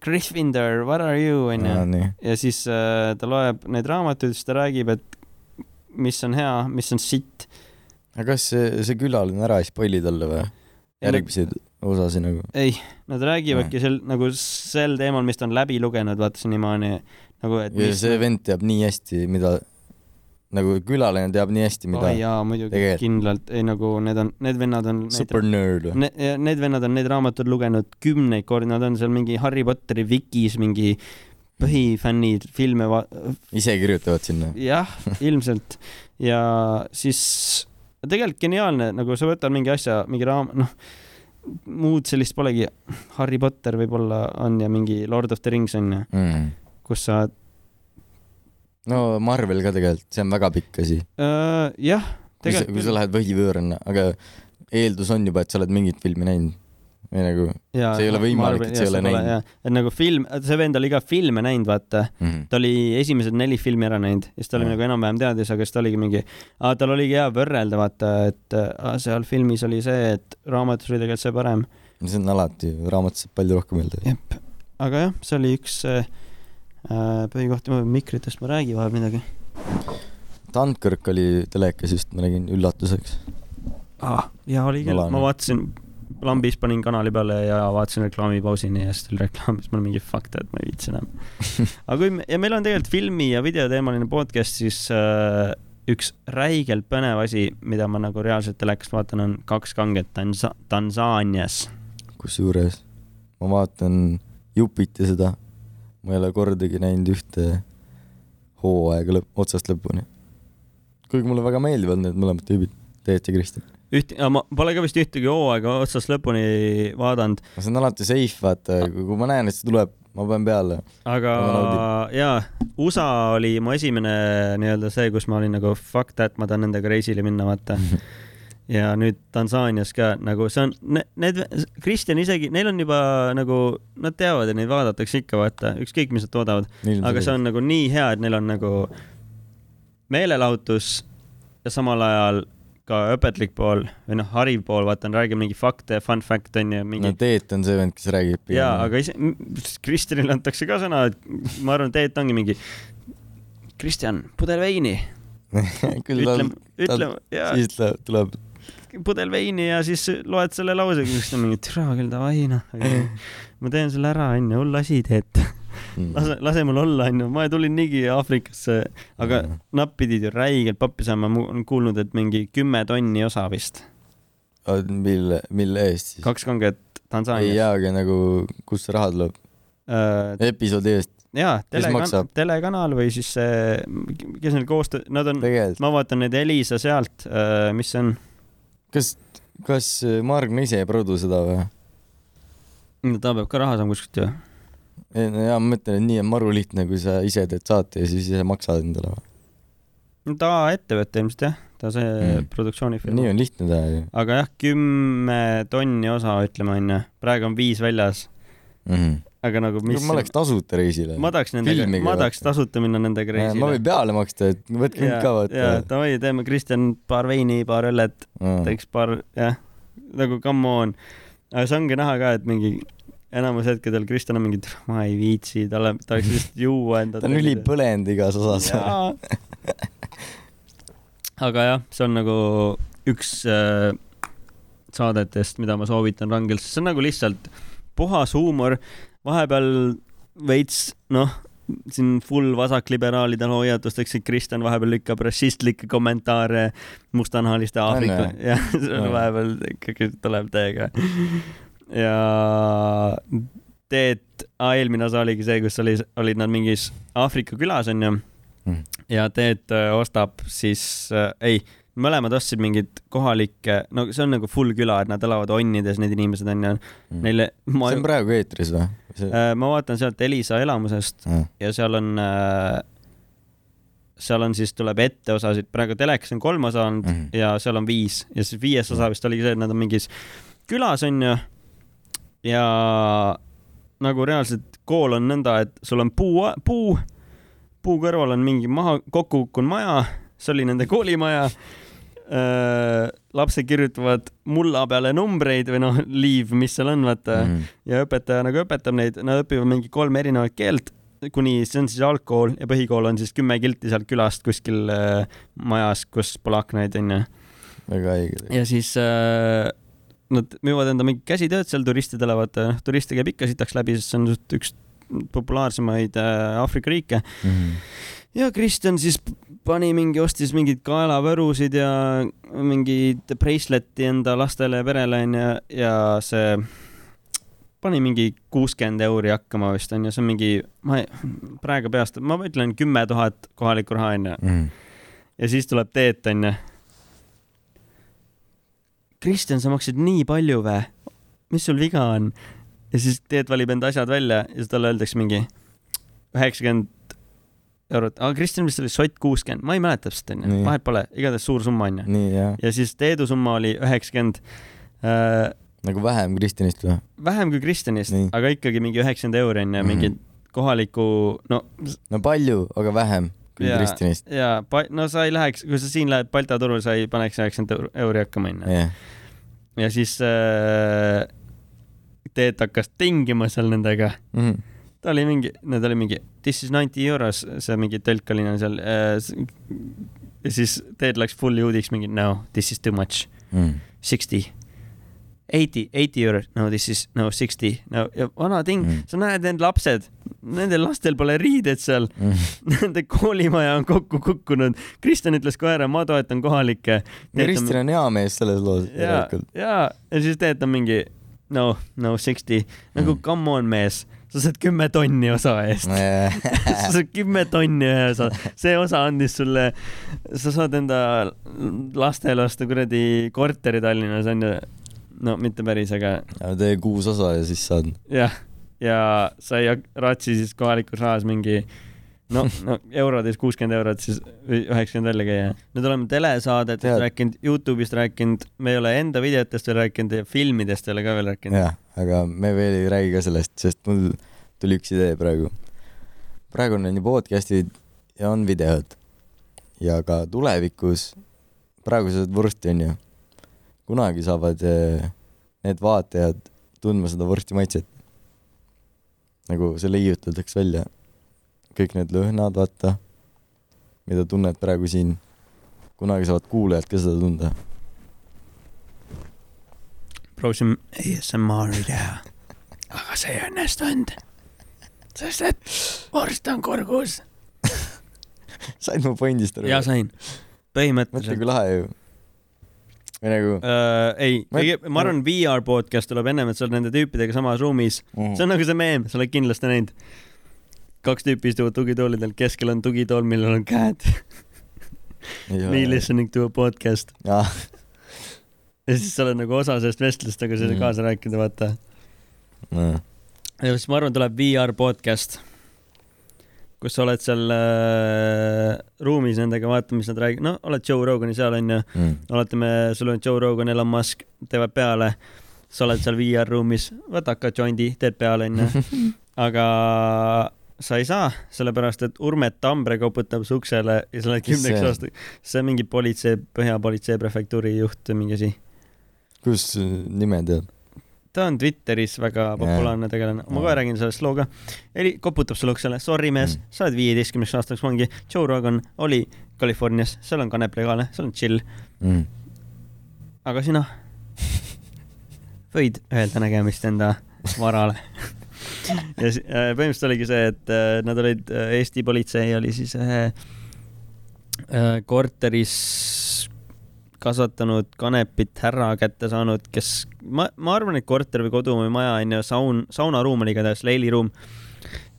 A: Gryffindor , what are you onju
B: Aa, nii .
A: ja siis äh, ta loeb neid raamatuid , siis ta räägib , et mis on hea , mis on sitt .
B: aga kas see , see külaline ära ei spoili talle või ? järgmise osasi nagu ?
A: ei , nad räägivadki sel nagu sel teemal , mis ta on läbi lugenud , vaata senimaani nagu , et
B: ja see vend teab nii hästi , mida , nagu külaline teab nii hästi ,
A: mida
B: mida
A: oh, . jaa , muidugi
B: Tegelikult.
A: Tegelikult. kindlalt , ei nagu need on , need vennad on neid,
B: super nerd või ?
A: ne, ja need vennad on neid raamatuid lugenud kümneid kordi , nad on seal mingi Harry Potteri vikis mingi põhifännid filme va- ,
B: ise kirjutavad sinna .
A: jah , ilmselt ja siis tegelikult geniaalne , nagu sa võtad mingi asja , mingi raam , noh , muud sellist polegi . Harry Potter võib-olla on ja mingi Lord of the Rings on ju ,
B: Mm.
A: kus sa
B: no Marvel ka tegelikult , see on väga pikk asi .
A: Öö, Äh, jah ,
B: kui sa , kui sa lähed võhivõõrana , aga eeldus on juba , et sa oled mingit filmi näinud . või nagu
A: jaa,
B: see ei ole
A: ma
B: võimalik,
A: arvan,
B: et sa ei
A: jah,
B: ole
A: seda
B: näinud.
A: jah. et nagu film , see vend oli ka filme näinud , vaata .
B: mm. .
A: ta oli esimesed neli filmi ära näinud ja siis ta oli
B: Mhm.
A: nagu enam-vähem teadis , aga siis ta oligi mingi , tal oligi hea võrrelda , vaata , et aa, seal filmis oli see , et raamatus oli tegelikult see parem .
B: Mm. see on alati , raamatus saab palju rohkem öelda .
A: jep , aga jah , see oli üks äh, äh, põhikohti , ma pean mikritest , ma räägin vahel midagi
B: Dunkirk oli telekas just , ma nägin üllatuseks .
A: ah, . jaa , oli küll ,
B: Olane.
A: ma vaatasin , lambis panin kanali peale ja vaatasin reklaamipausini ja siis tuli reklaam , siis ma olin mingi fuck that , ma ei viitsi enam . aga kui me , ja meil on tegelikult filmi ja videoteemaline podcast , siis äh, üks räigelt põnev asi , mida ma nagu reaalselt telekast vaatan , on Kaks kanget Tansa- , Tansaanias .
B: kusjuures ma vaatan Jupiti seda , ma ei ole kordagi näinud ühte hooaega lõpp , otsast lõpuni . kuigi mulle väga meeldivad need mõlemad tüübid , Teet ja Kristjan .
A: üht- , ma pole ka vist ühtegi hooaega otsast lõpuni vaadanud ,
B: see on alati safe , vaata , kui ma näen , et see tuleb , ma panen peale .
A: aga
B: Väga naudib.
A: jaa , USA oli mu esimene nii-öelda see , kus ma olin nagu fuck that , ma tahan nendega reisile minna , vaata .
B: Mhm.
A: ja nüüd Tansaanias ka nagu see on , need , Kristjan isegi , neil on juba nagu , nad teavad ja neid vaadatakse ikka , vaata , ükskõik , mis nad toodavad , aga see on nagu nii hea , et neil on nagu meelelahutus ja samal ajal ka õpetlik pool või noh , hariv pool , vaata , räägib mingi fakte , fun fact on ju , mingi
B: no Teet on see vend , kes räägib .
A: jaa , aga ise , Kristjanile antakse ka sõna , et ma arvan , et ongi mingi , Kristjan , pudel veini ,
B: küll tal
A: ütle ,, ütle , jaa ,
B: siis ta tuleb
A: pudel veini ja siis loed selle lausega , siis ta mingi , türa küll , davai noh . ma teen selle ära , onju , hull asi teed .
B: Mm.
A: lase , lase mul olla , onju . ma tulin niigi Aafrikasse ,
B: Mm.
A: aga nad pidid ju räigelt pappi saama , ma olen kuulnud , et mingi kümme tonni osa vist .
B: mille , mille eest siis ?
A: kaks kanget
B: ei
A: Tansaanias .
B: jaa , aga nagu , kust see raha tuleb ? episoodi eest ,
A: jaa ,
B: Kes
A: telekanal
B: maksab? ,
A: telekanal või siis see , kes neil koostöö , nad on ,
B: tegelikult .
A: ma vaatan neid Elisa sealt , mis see on ,
B: kas , kas äh, Margna ise ei produ seda või ?
A: ta peab ka raha saama kuskilt ju .
B: ei no jaa , ma mõtlen , et nii on maru lihtne , kui sa ise teed saate ja siis ise maksad endale .
A: no ta ettevõte ilmselt jah , ta see mm.
B: Mm.
A: produktsioonifirma .
B: nii on lihtne teha ju
A: aga jah , kümme tonni osa ütleme onju , praegu on viis väljas ,
B: mm. .
A: aga nagu mis .
B: ma oleks tasuta reisile .
A: ma tahaks nendega ,
B: filmiga
A: ma
B: vaata.
A: tahaks tasuta minna nendega
B: ma
A: reisile
B: võin . peale maksta , et võtke mind ka vaata .
A: davai , teeme Kristjan paar veini , paar õllet ,
B: Mm.
A: teeks paar , jah , nagu come on . aga see ongi näha ka , et mingi enamus hetkedel Kristjan on mingi , ma ei viitsi , talle , tahaks lihtsalt juua enda .
B: ta on ülipõlend igas osas .
A: Jaa. aga jah , see on nagu üks äh, saadetest , mida ma soovitan rangelt , sest see on nagu lihtsalt puhas huumor , vahepeal veits noh , siin full vasakliberaalidel hoiatusteks , et Kristjan vahepeal lükkab rassistlikke kommentaare mustanahaliste Aafrika
B: On ,
A: jah , see on
B: Jaa.
A: vahepeal ikkagi tuleb täiega . ja Teet , eelmine osa oligi see , kus oli , olid nad mingis Aafrika külas onju
B: Mm.
A: ja Teet öö, ostab siis , ei , mõlemad ostsid mingeid kohalikke , no see on nagu full küla , et nad elavad onnides , need inimesed onju , neile , ma
B: Mm. Mhm.
A: äh,
B: see , on praegu eetris või ?
A: ma vaatan sealt Elisa elamusest ja seal on , seal on siis tuleb etteosasid , praegu telekas on kolm osa olnud
B: Mhm.
A: Mm. ja seal on viis ja siis viies osa vist oligi see , et nad on mingis külas onju ja nagu reaalselt kool on nõnda , et sul on puu , puu , puu kõrval on mingi maha kokku kukkunud maja , see oli nende koolimaja . lapsed kirjutavad mulla peale numbreid või noh , liiv , mis seal on , vaata mm .
B: Mhm.
A: ja õpetaja nagu õpetab neid , nad õpivad mingi kolm erinevat keelt , kuni see on siis algkool ja põhikool on siis kümme kilti sealt külast kuskil äh, majas , kus pole aknaid onju .
B: väga õige .
A: ja siis äh, nad müüvad enda mingi käsitööd seal turistidele , vaata noh , turiste käib ikka sitaks läbi , sest see on suht- üks populaarsemaid äh, Aafrika riike .
B: Mhm.
A: ja Kristjan siis p- pani mingi , ostis mingeid kaelavõrusid ja mingeid bracelet'i enda lastele ja perele onju ja see pani mingi kuuskümmend euri hakkama vist onju , see on mingi , ma ei, praegu peast , ma ütlen kümme tuhat kohalikku raha onju
B: Mhm.
A: ja siis tuleb Teet onju . Kristjan , sa maksid nii palju vä ? mis sul viga on ? ja siis Teet valib enda asjad välja ja siis talle öeldakse mingi üheksakümmend eurot , aga Kristjan vist oli sott kuuskümmend , ma ei mäleta täpselt onju ,
B: Nii.
A: vahet pole , igatahes suur summa onju .
B: nii jah ,
A: ja siis Teedu summa oli üheksakümmend ,
B: nagu vähem Kristjanist või ?
A: vähem kui Kristjanist
B: Nii. ,
A: aga ikkagi mingi üheksakümmend euri onju ,
B: Mhm.
A: mingi kohaliku , no
B: no palju , aga vähem kui
A: Jaa.
B: Kristjanist .
A: ja , no sa ei läheks , kui sa siin lähed Balta turul , sa ei paneks üheksakümmend euri hakkama onju .
B: jah ,
A: ja siis äh, Teet hakkas tingima seal nendega .
B: Mhm.
A: ta oli mingi , no ta oli mingi this is ninety euros , see mingi tõlk oli neil seal äh, . ja siis Teet läks full juudiks mingi no this is too much , sixty . Eighty , eighty euros , no this is no sixty , no ja vana ting mm.
B: Mm. ,
A: sa näed need lapsed , nendel lastel pole riided seal , nende koolimaja on kokku kukkunud . Kristjan ütles kohe ära , ma toetan kohalikke .
B: Kristjan on hea mees selles loos
A: ja , ja , ja siis teed on mingi no , no sixty , nagu
B: Mm.
A: come on mees , sa saad kümme tonni osa eest . sa
B: tegelikult .
A: saad kümme tonni ühe osa , see osa andis sulle , sa saad enda lastele osta kuradi korteri Tallinnas onju . no mitte päris , aga
B: tee kuus osa ja siis saad .
A: jah , ja sai raatsi siis kohalikus rahas mingi no , no eurodes kuuskümmend eurot siis või üheksakümmend välja käia . nüüd oleme telesaadetest
B: Tead-
A: rääkinud , Youtube'ist rääkinud , me ei ole enda videotest veel rääkinud ja filmidest ei ole ka veel rääkinud .
B: jah , aga me veel ei räägi ka sellest , sest mul tuli üks idee praegu . praegu on ju podcast'id ja on videod . ja ka tulevikus , praegu sa oled vorsti , onju . kunagi saavad eh, need vaatajad tundma seda vorsti maitset . nagu see leiutatakse välja . kõik need lõhnad , vaata , mida tunned praegu siin . kunagi saavad kuulajad ka seda tunda .
A: proovisime ASMR-i teha , aga see ei õnnestunud , sest et vorst on kurgus .
B: said mu pointist aru
A: ja ? sain ,
B: mõtle
A: põhimõtteliselt .
B: kui lahe ju . või nagu
A: Uh, ei
B: Ma- ,
A: ma arvan , VR podcast tuleb ennem , et sa oled nende tüüpidega samas ruumis . see
B: mm. ,
A: on nagu see meem , sa oled kindlasti näinud . kaks tüüpi istuvad tugitoolidel , keskel on tugitool , millel on käed . Me . listening to a podcast .
B: jah ,
A: ja siis sa oled nagu osa sellest vestlust , aga sa ei saa
B: Mm.
A: kaasa rääkida , vaata . ja siis ma arvan , tuleb VR podcast , kus sa oled seal äh, ruumis nendega , vaata , mis nad räägivad , no oled Joe Rogani seal onju ,
B: mm.
A: oletame , sul on Joe Rogan , Elon Musk , teevad peale , sa oled seal VR ruumis , võta ka jondi , teed peale onju , aga sa ei saa , sellepärast et Urmet Tambre koputab su uksele ja sa oled
B: Kes see
A: kümneks
B: on?
A: aastaks , see on mingi politsei , Põhja-politsei prefektuuri juht või mingi asi .
B: kus äh, nime tead ?
A: ta on Twitteris väga populaarne tegelane , ma kohe
B: Jaa.
A: räägin sellest loo ka . Eli koputab sulle uksele , sorry mees
B: Mm.
A: mm. , sa oled viieteistkümneks aastaks vangi , Joe Rogan oli Californias , seal on kanep legaalne , seal on chill ,
B: Mm.
A: aga sina võid öelda nägemist enda varale . ja si- äh, põhimõtteliselt oligi see , et äh, nad olid , Eesti politsei oli siis ühe äh, korteris kasvatanud kanepit härra kätte saanud , kes , ma , ma arvan , et korter või kodu või maja on ju , saun , saunaruum oli igatahes , leiliruum .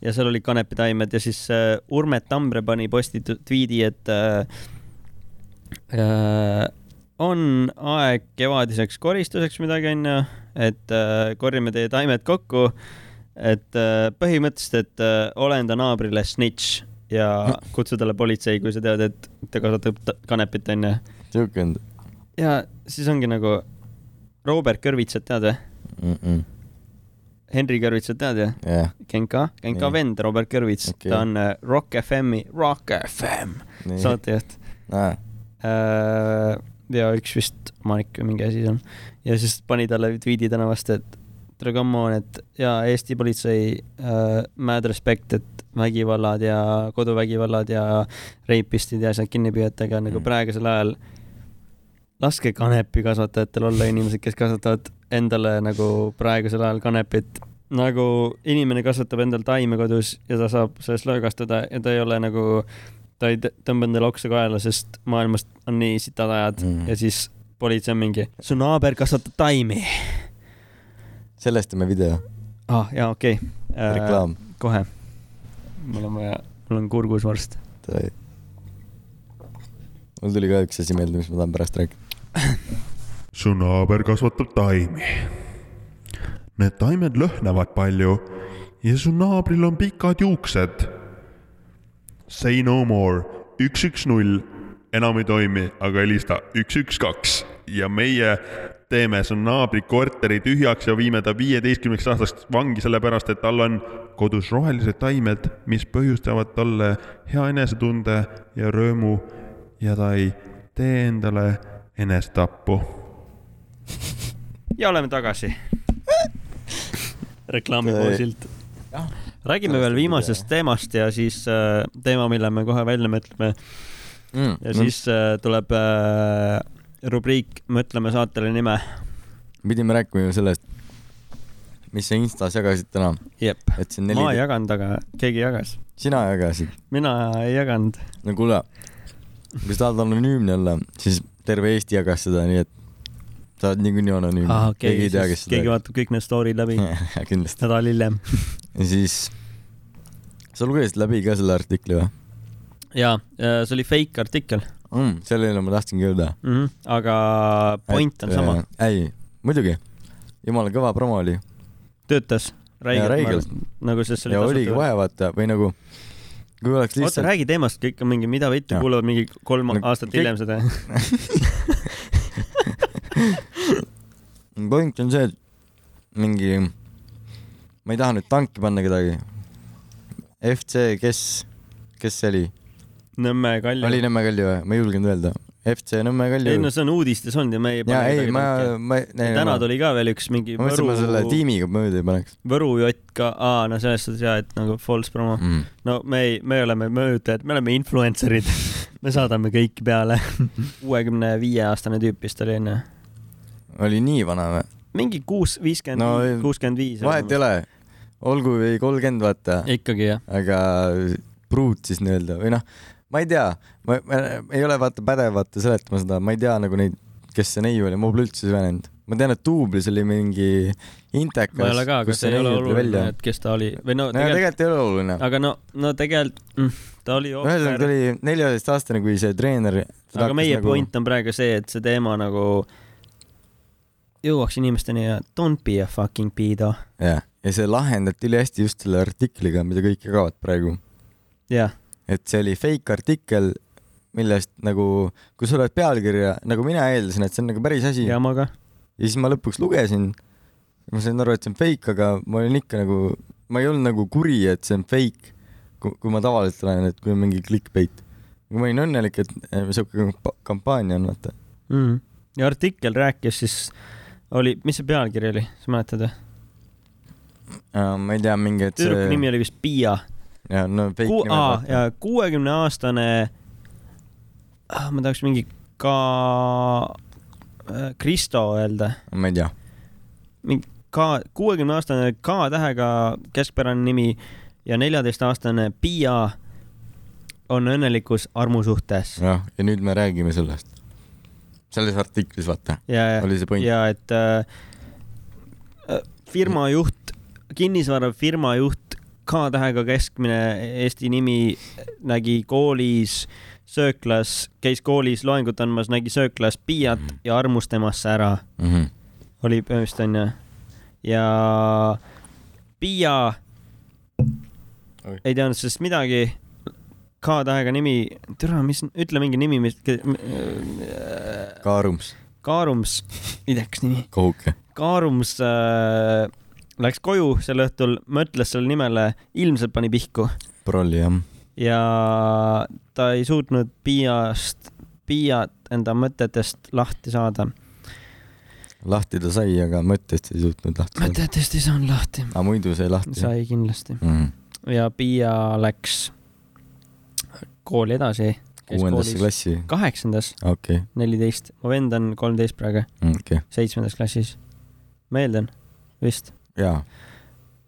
A: ja seal olid kanepitaimed ja siis äh, Urme Tambre pani postitud tweet'i , et äh, äh, on aeg kevadiseks koristuseks midagi onju , et äh, korjame teie taimed kokku . et äh, põhimõtteliselt , et äh, ole enda naabrile snitš ja kutsu talle politsei , kui sa tead , et ta kasutab ta- kanepit onju .
B: siuke on
A: ja siis ongi nagu Robert Kõrvitsat tead või ?
B: mm . -mm.
A: Henri Kõrvitsat tead või ?
B: jah ,
A: Genka , Genka
B: Nii.
A: vend Robert Kõrvits okay. ,
B: Okei.
A: ta on äh, Rock FM-i , Rock FM
B: nii .
A: saatejuht .
B: aa ,
A: Äh, ja üks vist omanik või mingi asi seal . ja siis pani talle tweet'i täna vastu , et tere , come on , et ja Eesti politsei äh, mad respect , et vägivallad ja koduvägivallad ja reipistid ja asjad kinni püüate , aga nagu
B: Mm.
A: praegusel ajal laske kanepikasvatajatel olla inimesed , kes kasvatavad endale nagu praegusel ajal kanepit . nagu inimene kasvatab endal taime kodus ja ta saab sellest löögastuda ja ta ei ole nagu , ta ei tõ- tõmba endale oksa kaela , sest maailmas on nii sitad ajad
B: Mm.
A: mm. ja siis politsei on mingi , su naaber kasvatab taimi .
B: sellest teeme video ,
A: ah jaa , okei okay.
B: reklaam .
A: kohe . mul on vaja , mul on kurgus varsti .
B: mul tuli ka üks asi meelde , mis ma tahan pärast rääkida .
C: su naaber kasvatab taimi . Need taimed lõhnevad palju ja su naabril on pikad juuksed . Say no more , üks , üks , null , enam ei toimi , aga helista üks , üks , kaks ja meie teeme su naabri korteri tühjaks ja viime ta viieteistkümneks aastaks vangi , sellepärast et tal on kodus rohelised taimed , mis põhjustavad talle hea enesetunde ja rõõmu ja ta ei tee endale enesetappu
A: ja oleme tagasi . reklaamipool
B: Tõi.
A: silt . räägime veel viimasest teemast ja siis äh, teema , mille me kohe välja mõtleme ja
B: Noh.
A: no. siis äh, tuleb äh, rubriik Mõtleme saatele nime .
B: pidime rääkima ju sellest , mis sa Instas jagasid täna ,
A: jep .
B: et siin
A: ma ei
B: neli ,
A: jaganud , aga keegi jagas .
B: sina jagasid .
A: mina ei jaganud .
B: no kuule , kui sa tahad anonüümne olla , siis terve Eesti jagas seda , nii et sa oled niikuinii anonüümne
A: Ah, okay,
B: keegi ei tea , kes
A: keegi
B: seda
A: vaatab kõik need story'd läbi
B: jagab . kindlasti .
A: nädal hiljem .
B: ja siis , sa lugesid läbi ka selle artikli või
A: ja äh, see oli fake artikkel
B: mm, ? sellele ma tahtsingi jõuda .
A: mm , -hmm. aga point on
B: äh,
A: sama ,.
B: ei , muidugi . jumala kõva promo oli .
A: töötas
B: ja
A: räigelt
B: räigelt .,
A: nagu sest see
B: ja
A: oli
B: oligi vaja vaata , või nagu , kui oleks
A: oota ,
B: lihtsalt ,
A: räägi teemast , kõik on mingi , mida vittu
B: Jah. ,
A: kuulavad mingi kolm
B: No
A: aastat
B: kõik-
A: hiljem seda .
B: point on see , et mingi , ma ei taha nüüd tanki panna kedagi . FC , kes , kes see oli ?
A: Nõmme Kalju .
B: oli Nõmme Kalju või ? ma ei julgenud öelda . FC Nõmme
A: ei no
B: Kalju .
A: see on uudistes olnud ja me ei
B: ja
A: pane
B: ei ,
A: kedagi
B: ma
A: tanki. ,
B: ma , ei
A: ja . täna tuli ka veel üks mingi
B: ma mõtlesin , et ma selle
A: Võru ,
B: tiimiga mööda ei paneks
A: Võru jotka , aa no selles suhtes jaa , et nagu false promo .
B: mm. .
A: no me ei , me oleme mõjutajad , me oleme influencer'id . me saadame kõiki peale . kuuekümne viie aastane tüüp vist oli onju .
B: oli nii vana või ?
A: mingi kuus ,
B: No ei-
A: viiskümmend , kuuskümmend viis .
B: vahet ei ole , olgu või kolmkümmend , vaata ,
A: ikkagi jah .
B: aga pruut siis nii-öelda või noh , ma ei tea , ma ei ole vaata pädev vaata seletama seda , ma ei tea nagu neid , kes see neiu oli , ma pole üldse süvenenud . ma tean , et duublis oli mingi intekas .
A: ma ei ole ka , aga see ei ole oluline , et kes ta oli või no
B: no
A: tegelikult ,
B: tegelikult ei ole oluline .
A: aga no , no tegelikult mm, ta oli
B: ühesõnaga ,
A: ohver ,
B: ta oli neljateistaastane , kui see treener .
A: aga meie nagu... point on praegu see , et see teema nagu jõuaks inimesteni ja don't be a fucking pedo .
B: jah , ja see lahendati ülihästi just selle artikliga , mida kõik jagavad praegu .
A: jah ,
B: et see oli fake artikkel , millest nagu , kui sa loed pealkirja , nagu mina eeldasin , et see on nagu päris asi ja,
A: ja ma ka .
B: ja siis ma lõpuks lugesin . ma sain aru , et see on fake , aga ma olin ikka nagu , ma ei olnud nagu kuri , et see on fake , kui ma tavaliselt olen , et kui on mingi clickbait . ma olin õnnelik , et eh, sihuke kampa- kampaania on , vaata .
A: mm. . ja artikkel rääkis siis , oli , mis see pealkiri oli , sa mäletad või ?
B: ma ei tea , mingi , et
A: tüdruku
B: see
A: nimi . oli vist Piia .
B: jaa , no fake
A: Ku- , aa ,
B: nimed .
A: ja kuuekümne aastane , ma tahaks mingi ka , Kristo öelda ,
B: ma ei tea .
A: mingi ka , kuuekümne aastane K tähega keskpärane nimi ja neljateistaastane Piia on õnnelikus armusuhtes
B: jah , ja nüüd me räägime sellest . selles artiklis , vaata ,
A: ja , ja ,
B: oli see point .
A: ja et äh, äh, firma juht , kinnisvarafirma juht , K tähega keskmine Eesti nimi , nägi koolis , sööklas , käis koolis loengut andmas , nägi sööklas Piiat
B: Mhm.
A: ja armus temasse ära , oli põhimõtteliselt onju . ja Piia
B: Oi.
A: ei teadnud sellest midagi . K tähega nimi , türa , mis , ütle mingi nimi , mis ,
B: Kaarums ,
A: Kaarums , ei tea , kas nimi
B: kohuke .
A: Kaarums äh, läks koju sel õhtul , mõtles selle nimele , ilmselt pani pihku
B: prolli jah .
A: ja ta ei suutnud Piiast , Piiat enda mõtetest lahti saada .
B: lahti ta sai , aga mõttest ei suutnud lahti saada .
A: mõtetest ei saanud lahti .
B: aga muidu sai lahti .
A: sai kindlasti .
B: Mm.
A: ja Piia läks kooli edasi .
B: kuuendasse . klassi ,
A: kaheksandas ,
B: okei ,
A: neliteist , mu vend on kolmteist praegu ,
B: okei ,
A: seitsmendas klassis . ma eeldan , vist .
B: jaa .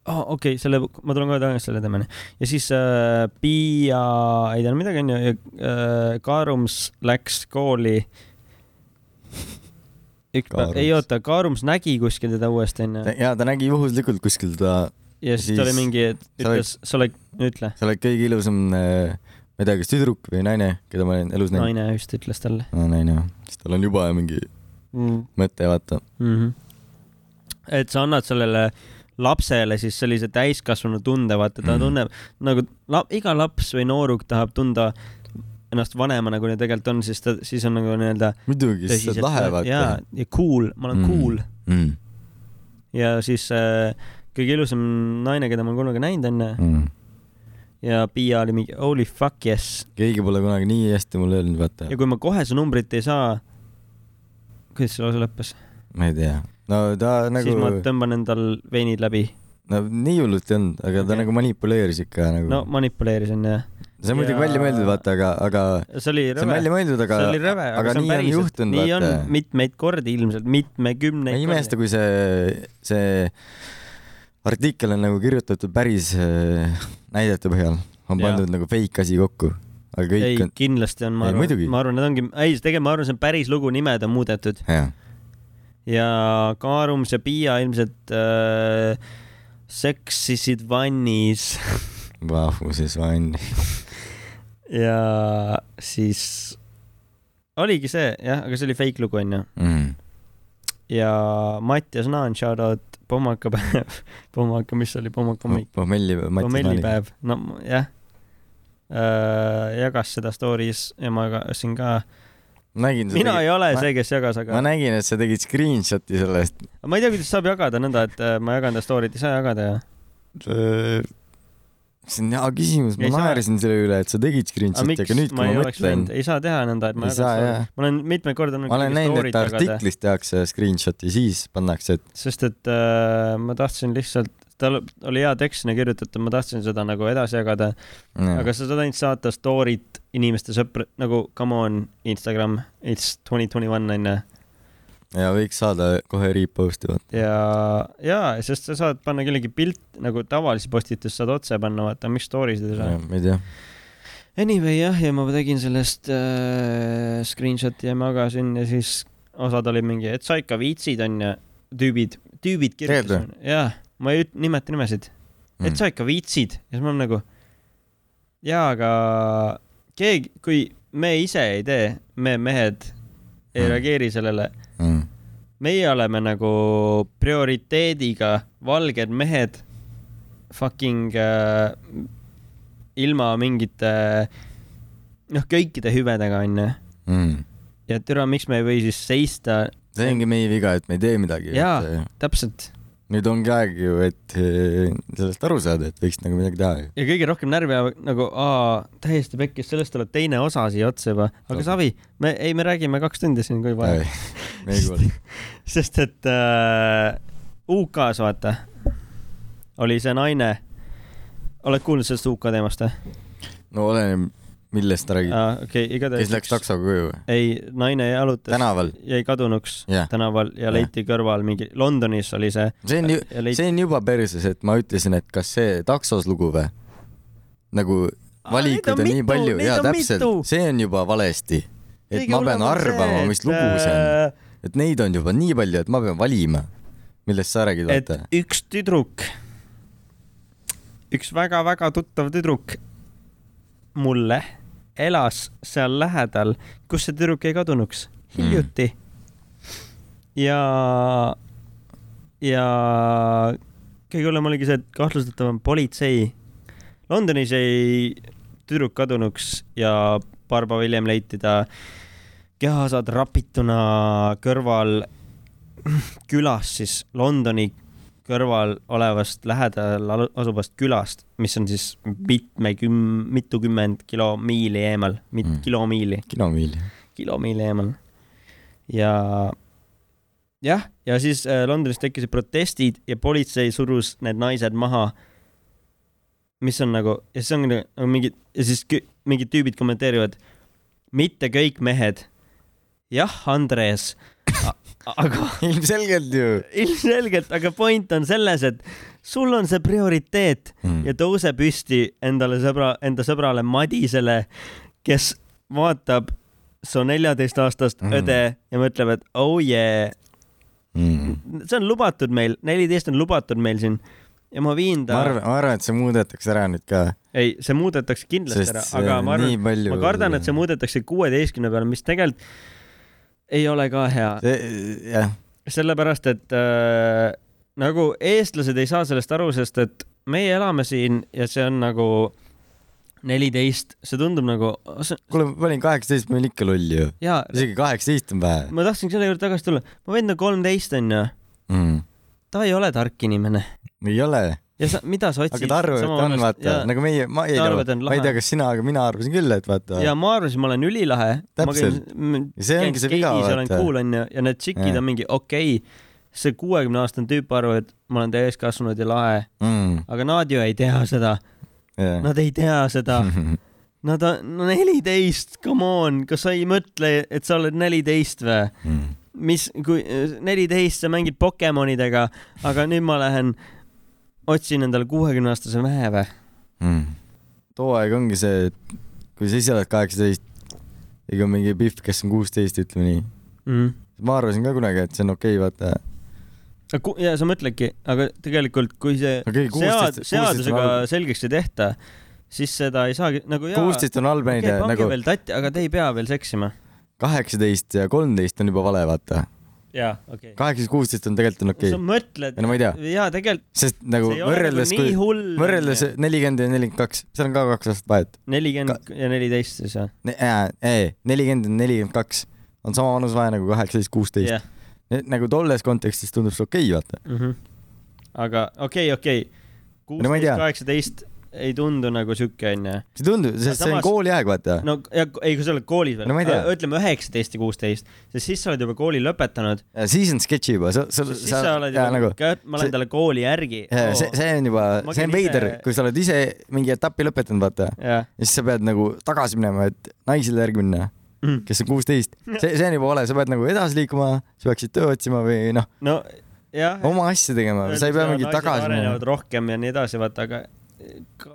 A: oh, . okei okay, , selle , ma tulen kohe tagasi selle teemani . ja siis äh, Piia , ei teadnud midagi , onju , ja äh, Kaarums läks kooli . üks päev ,
B: Kaarums.
A: ei oota , Kaarums nägi kuskil teda uuesti , onju .
B: jaa , ta nägi juhuslikult kuskil ta ,
A: ja siis, siis ta oli
B: siis
A: mingi , et
B: sa oled-
A: ütles , sa oled , ütle .
B: sa oled kõige ilusam , ma ei tea , kas tüdruk või naine , keda ma olen elus näinud .
A: naine just ütles talle
B: naine , siis tal on juba mingi
A: mm. .
B: mõte , vaata .
A: Mm -hmm. et sa annad sellele lapsele siis sellise täiskasvanu tunde , vaata ta mm
B: Mhm.
A: -hmm. tunneb nagu la, iga laps või nooruk tahab tunda ennast vanemana , kui ta tegelikult on , siis ta , siis on nagu nii-öelda
B: muidugi , siis sa oled lahe , vaata
A: jaa , ja cool , ma olen
B: Mhm.
A: mm. cool
B: mm. .
A: ja siis äh, kõige ilusam naine , keda ma olen kunagi näinud onju
B: Mm.
A: ja Piia oli mingi holy fuck yes
B: keegi pole kunagi nii hästi mulle öelnud , vaata
A: ja . kui ma kohe su numbrit ei saa , kuidas see lause lõppes
B: ma ei tea . no ta
A: nagu... ,
B: nagu
A: siis ma , tõmban endal veinid läbi ,
B: no nii hullult ei olnud , aga ta
A: Okei.
B: nagu manipuleeris ikka nagu
A: no
B: no, .
A: manipuleerisin ja
B: see on muidugi
A: ja-
B: välja mõeldud , vaata , aga , aga
A: see oli
B: see on
A: rõve
B: välja , mõeldud , aga
A: see oli , rõve ,
B: aga,
A: aga, aga see
B: nii
A: on
B: on
A: päriselt ,
B: juhtunud ,
A: nii on
B: vaata .
A: mitmeid kordi ilmselt ,
B: ma
A: mitmekümneid
B: ei imesta , kui see , see artikkel on nagu kirjutatud päris äh, näidete põhjal , on
A: Jaa.
B: pandud nagu fake asi kokku , aga kõik
A: ei
B: ei. , on ,
A: kindlasti on , ma
B: Ei,
A: arvan
B: muidugi. ,
A: ma arvan , need ongi , ei , tegelikult ma arvan , see on päris lugu , nimed on muudetud
B: jah ,
A: ja Kaarums ja Piia ilmselt äh, seksisid vannis
B: vahvuses vann .
A: ja siis oligi see jah , aga see oli fake lugu onju
B: Mm.
A: ja Mattias Naan , shout out , pommakapäev , pommaka , mis see oli , pommakamõik ,
B: pommelli , Mati .
A: pommellipäev , no m- jah äh, . jagas seda story's ja ma jagasin ka ,
B: nägin
A: mina ei ole
B: ma-
A: see , kes jagas ,
B: ma
A: aga
B: nägin , et sa tegid screenshot'i sellest .
A: ma ei tea , kuidas saab jagada nõnda , et äh, ma jagan ta story't , ei saa jagada ju .
B: see on hea küsimus , ma
A: Ei saa.
B: naersin selle üle , et sa tegid
A: aga
B: screenshot'i ,
A: miks
B: aga nüüd ,
A: ma
B: kui
A: ei
B: ma
A: oleks
B: mõtlen
A: võinud ,, ei saa teha nõnda , et ma
B: ei saa
A: jagan
B: jah .
A: ma olen mitmeid kordi olnud
B: ma olen näinud , et
A: jagada ,
B: artiklis tehakse screenshot'i , siis pannakse , et
A: sest et äh, ma tahtsin lihtsalt , tal oli hea tekst sinna kirjutatud , ma tahtsin seda nagu edasi jagada ,
B: aga...
A: aga sa saad ainult saata story't inimeste sõpra- , nagu come on Instagram , it's twenty twenty one onju .
B: ja võiks saada kohe reposti , vaata .
A: ja , ja sest sa saad panna kellegi pilt nagu tavalisi postitusi saad otse panna , vaata , mis story sid ei saa .
B: ma ei tea .
A: Anyway jah , ja ma tegin sellest äh, screenshot'i ja magasin ja siis osad olid mingi , et sa ikka viitsid onju , tüübid , tüübid kirjutasid . jaa , ma ei üt- nimeta nimesid mm. , et sa ikka viitsid ja siis ma olen nagu . jaa , aga keegi , kui me ise ei tee , me mehed ei
B: Mm.
A: reageeri sellele ,
B: mm. .
A: meie oleme nagu prioriteediga valged mehed fucking äh, ilma mingite noh , kõikide hüvedega onju .
B: Mm.
A: ja türa , miks me ei või siis seista
B: see ongi meie viga , et me ei tee midagi .
A: Jaa. täpselt
B: nüüd ongi aeg ju , et eh, sellest aru saada , et võiks nagu midagi teha ju .
A: ja kõige rohkem närvi ajab nagu aa , täiesti pekkis , sellest tuleb teine osa siia otsa juba . aga Savi , me ei , me räägime kaks tundi siin , kui vaja .
B: Äh, me ei kuule .
A: sest et äh, UK-s vaata , oli see naine , oled kuulnud sellest UK teemast või ?
B: no oleneb , millest ta räägib .
A: okei okay, , igatahes
B: kes läks taksoga koju või ?
A: ei , naine jalutas ,
B: tänaval .
A: jäi kadunuks
B: Jah.
A: tänaval ja
B: Jah.
A: leiti kõrval mingi , Londonis oli see
B: see on ju ,
A: ja leiti
B: see on juba perses , et ma ütlesin , et kas see taksos lugu või ? nagu
A: Aa,
B: valikuid
A: neid on
B: on nii
A: mitu,
B: palju
A: neid
B: ja
A: on
B: täpselt
A: mitu. ,
B: see on juba valesti . et ma pean arvama , mis lugu see on .
A: on .
B: et neid on juba nii palju , et ma pean valima , millest sa räägid ,
A: et
B: vaata .
A: üks tüdruk , üks väga-väga tuttav tüdruk mulle elas seal lähedal , kus see tüdruk jäi kadunuks hiljuti mm. . ja , ja kõige hullem oligi see , et kahtlustatav on politsei . Londonis jäi tüdruk kadunuks ja paar päeva hiljem leiti ta kehaosad rapituna kõrval külas siis Londoni kõrval olevast lähedal alu- asuvast külast , mis on siis mitmeküm- , mitukümmend kilomiili eemal , mit-
B: Mm.
A: mm. , kilomiili ,
B: kinomiil .
A: kilomiili eemal . ja jah , ja siis äh, Londonis tekkisid protestid ja politsei surus need naised maha . mis on nagu , ja siis ongi nagu, nagu mingid ja siis kü- mingid tüübid kommenteerivad , mitte kõik mehed . jah , Andres , aga
B: ilmselgelt ju
A: ilmselgelt , aga point on selles , et sul on see prioriteet ja
B: mm. .
A: tõuse püsti endale sõbra , enda sõbrale Madisele , kes vaatab su neljateistaastast mm.
B: Mm.
A: õde ja mõtleb , et oh yeah ,
B: Mm.
A: see on lubatud meil , neliteist on lubatud meil siin ja ma viin
B: ma
A: ta ,
B: arvan , ma arvan , et see muudetakse ära nüüd ka .
A: ei , see muudetakse kindlasti ära , aga ma arvan ,
B: arvan
A: ma kardan , et see . muudetakse kuueteistkümne peale , mis tegelikult ei ole ka hea .
B: see , jah ,
A: sellepärast , et äh, nagu eestlased ei saa sellest aru , sest et meie elame siin ja see on nagu neliteist , see tundub nagu ,
B: kuule , ma olin kaheksateist , ma olin ikka loll ju .
A: jaa ,
B: isegi kaheksateist on vähe
A: ma tahtsin selle juurde tagasi tulla , mu vend on kolmteist onju ,
B: mm. .
A: ta ei ole tark inimene
B: ei ole ,
A: ja sa, mida sa
B: aga
A: otsid .
B: ta arvab , et on , vaata , nagu meie , ma ei
A: Ta arvab, et
B: tea
A: on ,
B: ma
A: lahe.
B: ei tea , kas sina , aga mina arvasin küll , et vaata .
A: ja ma arvasin , ma olen ülilahe .
B: Täpselt. . see ongi see viga ,
A: olen
B: vaata .
A: cool onju ja need tšikid
B: Jaa.
A: on mingi okei okay, , see kuuekümne aastane tüüp arvab , et ma olen täiskasvanud ja lahe ,
B: Mm,
A: aga nad ju ei tea seda , nad ei tea seda
B: Mm,
A: no ta , no neliteist , come on , kas sa ei mõtle , et sa oled neliteist või ?
B: mm,
A: mis , kui neliteist sa mängid Pokemonidega , aga nüüd ma lähen otsin endale kuuekümne aastase mehe või ?
B: mm. too aeg ongi see , et kui sa ise oled kaheksateist , ega mingi Pihv , kes on kuusteist , ütleme nii . Mm. ma arvasin ka kunagi , et see on okei okay, , vaata .
A: ja sa mõtledki , aga tegelikult , kui see
B: Okei, 16
A: sead- , seadusega
B: 16
A: selgeks ei tehta , siis seda ei saagi nagu jaa .
B: kuusteist on halb
A: okei
B: näide ,
A: pange
B: nagu
A: nagu... veel tatti , aga te ei pea veel seksima .
B: kaheksateist ja kolmteist on juba vale , vaata .
A: jaa , okei okay. .
B: kaheksateist , kuusteist on tegelikult on okei
A: sa
B: okay. .
A: mõtled
B: ei no ma ei tea ,
A: jaa , tegelikult
B: sest nagu
A: see ei ole nagu
B: võrreldes ,
A: nii
B: kui ,
A: hull .
B: võrreldes nelikümmend ja nelikümmend kaks , seal on ka kaks aastat vahet .
A: nelikümmend ja neliteist siis või ?
B: nelikümmend ja nelikümmend kaks on sama vanus vahe nagu kaheksateist , kuusteist . nagu tolles kontekstis tundub see okei okay, , vaata .
A: mm . -hmm. aga okei , okei ,
B: No ma ei
A: kuusteist ,
B: tea.
A: kaheksateist ei tundu nagu sihuke onju .
B: see tundub , sest see on
A: samas-
B: kooliaeg , vaata .
A: no ja, ei , kui sa oled koolis veel
B: No ma ei tea.
A: ütleme üheksateist ja kuusteist , sest siis sa oled juba kooli lõpetanud ,
B: siis on sketši juba , sa , sa ,
A: siis sa, sa oled
B: jaa,
A: juba
B: nagu
A: nagu, , ma lähen
B: see-
A: talle kooli järgi . Oh.
B: jaa, see , see on juba ,
A: Ma
B: see
A: käin
B: on veider
A: ise- ,
B: kui sa oled ise mingi etapi lõpetanud , vaata .
A: jah ,
B: ja siis sa pead nagu tagasi minema , et naisele järgi minna .
A: Mm.
B: kes on kuusteist . see , see on juba vale , sa pead nagu edasi liikuma , sa peaksid töö otsima või noh ,
A: no jah .
B: oma asja tegema , Oh, sa ei pea mingi tagasi minema .
A: arenevad rohkem ja nii edasi , vaata , aga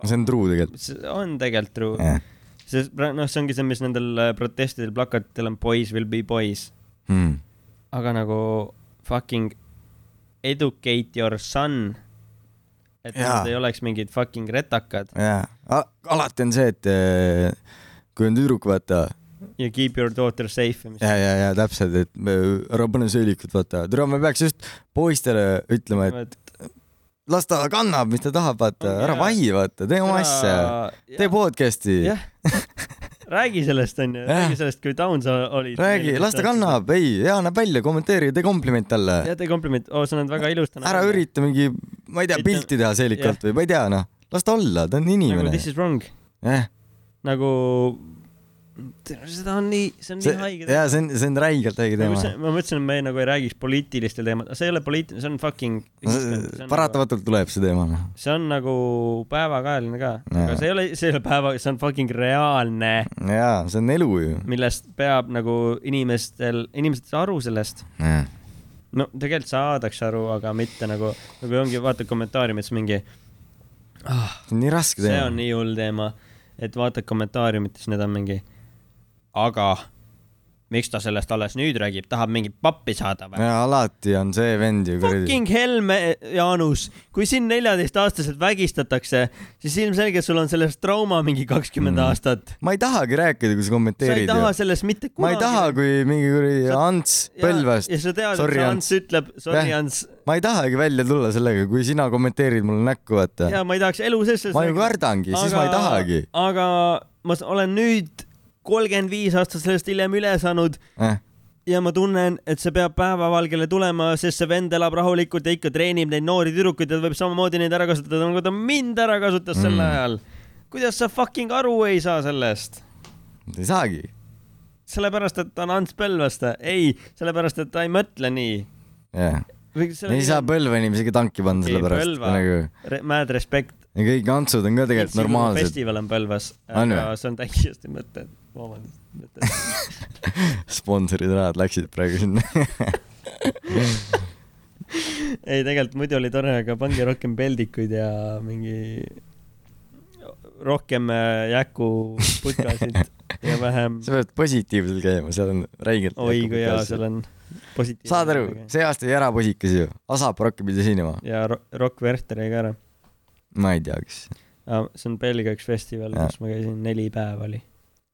B: see on true tegelikult .
A: see on tegelikult true . sest pra- noh , see ongi see , mis nendel äh, protestidel plakatitel on boys will be boys ,
B: Hmm.
A: aga nagu fucking educate your son . et
B: Jaa.
A: nad ei oleks mingid fucking retakad
B: jaa , alati on see , et eh, kui on tüdruk , vaata ,
A: ja keep your daughter safe ja mis
B: ja , ja , ja täpselt , et me- ära pane söölikut , vaata , tule , me peaks just poistele ütlema , et
A: et
B: las ta kannab , mis ta tahab , vaata ,
A: On,
B: ära
A: jaa.
B: vahi , vaata , tee oma asja ,. tee podcast'i ,
A: jah , räägi sellest onju ,
B: Jah.
A: räägi sellest , kui down sa olid .
B: räägi , las ta . kannab , ei , hea näeb välja , kommenteeri , tee kompliment talle ,
A: ja tee kompliment , Oh, oo , sa oled väga ilus täna .
B: ära . ürita mingi , ma ei tea
A: Et , ta-
B: pilti teha seelikult või ma ei tea , noh , las ta olla , ta on
A: nagu
B: inimene
A: this . is wrong ,
B: jah ,
A: nagu , seda on nii , see on
B: see
A: nii , haige
B: jaa , see on , see on räigelt haige
A: nagu
B: teema
A: see , ma mõtlesin , et me nagu ei räägiks poliitilistel teemadel , see ei ole poliitiline , see on nagu- fucking .
B: No see- paratamatult tuleb see teema , noh .
A: see on nagu päevakajaline ka , aga
B: Jaa.
A: see ei ole , see ei ole päeva , see on fucking reaalne ,
B: jaa , see on elu ju .
A: millest peab nagu inimestel , inimesed ei saa aru sellest .
B: jah
A: no tegelikult saadakse aru , aga mitte nagu , nagu ongi , vaata kommentaariumites mingi ,
B: see on nii raske
A: see
B: teema .
A: on nii hull teema , et vaata kommentaariumites , need on mingi , aga miks ta sellest alles nüüd räägib , tahab mingit pappi saada või ?
B: ja alati on see vend ju kuradi .
A: Fucking Helme , Jaanus , kui sind neljateistaastaselt vägistatakse , siis ilmselgelt sul on sellest trauma mingi kakskümmend
B: Mm.
A: mm. aastat .
B: ma ei tahagi rääkida , kui sa
A: sa ei
B: kommenteerid
A: taha
B: ju .
A: sellest mitte kunagi .
B: ma ei taha , kui mingi kuradi
A: Sa-
B: Ants Põlvast
A: ja , sa tead , et
B: Sorry,
A: see
B: Ants.
A: Ants ütleb , sorry
B: Jah.
A: Ants ,
B: ma ei tahagi välja tulla sellega , kui sina kommenteerid mulle näkku , vaata .
A: ja ma ei tahaks elu sees
B: ma ju kardangi , siis ma ei tahagi .
A: aga ma s- olen nüüd kolmkümmend viis aastat sellest hiljem üle saanud ja ma tunnen , et see peab päevavalgele tulema , sest see vend elab rahulikult ja ikka treenib neid noori tüdrukuid ja ta võib samamoodi neid ära kasutada , nagu ta mind ära kasutas mm. sel
B: Mm.
A: ajal . kuidas sa fucking aru ei saa sellest ?
B: ei saagi .
A: sellepärast , et ta on Ants Põlvaste , ei , sellepärast , et ta ei mõtle nii .
B: jah . ei saa Põlva inimesega tanki panna
A: Ei,
B: selle pärast .
A: Põlva.
B: nagu ,
A: Mad respect .
B: ja kõik Antsud on ka tegelikult normaalsed .
A: festival on Põlvas ,
B: On
A: aga
B: või?
A: see on täiesti mõttetu , vabandust , mõttetu .
B: sponsorid rahad läksid praegu sinna .
A: ei , tegelikult muidu oli tore , aga pange rohkem peldikuid ja mingi rohkem äh, jäku putkasid ja vähem ,
B: sa pead positiivsel käima , seal on räigelt .
A: oi kui hea seal on .
B: saad aru , see aasta jäi ära posikas ju . Asap Rocki pidi esinema .
A: ja Ro- Rock Werther jäi ka ära .
B: ma ei tea , kes
A: see on Belgia üks festival ,
B: Jaa.
A: kus ma käisin , neli päeva oli .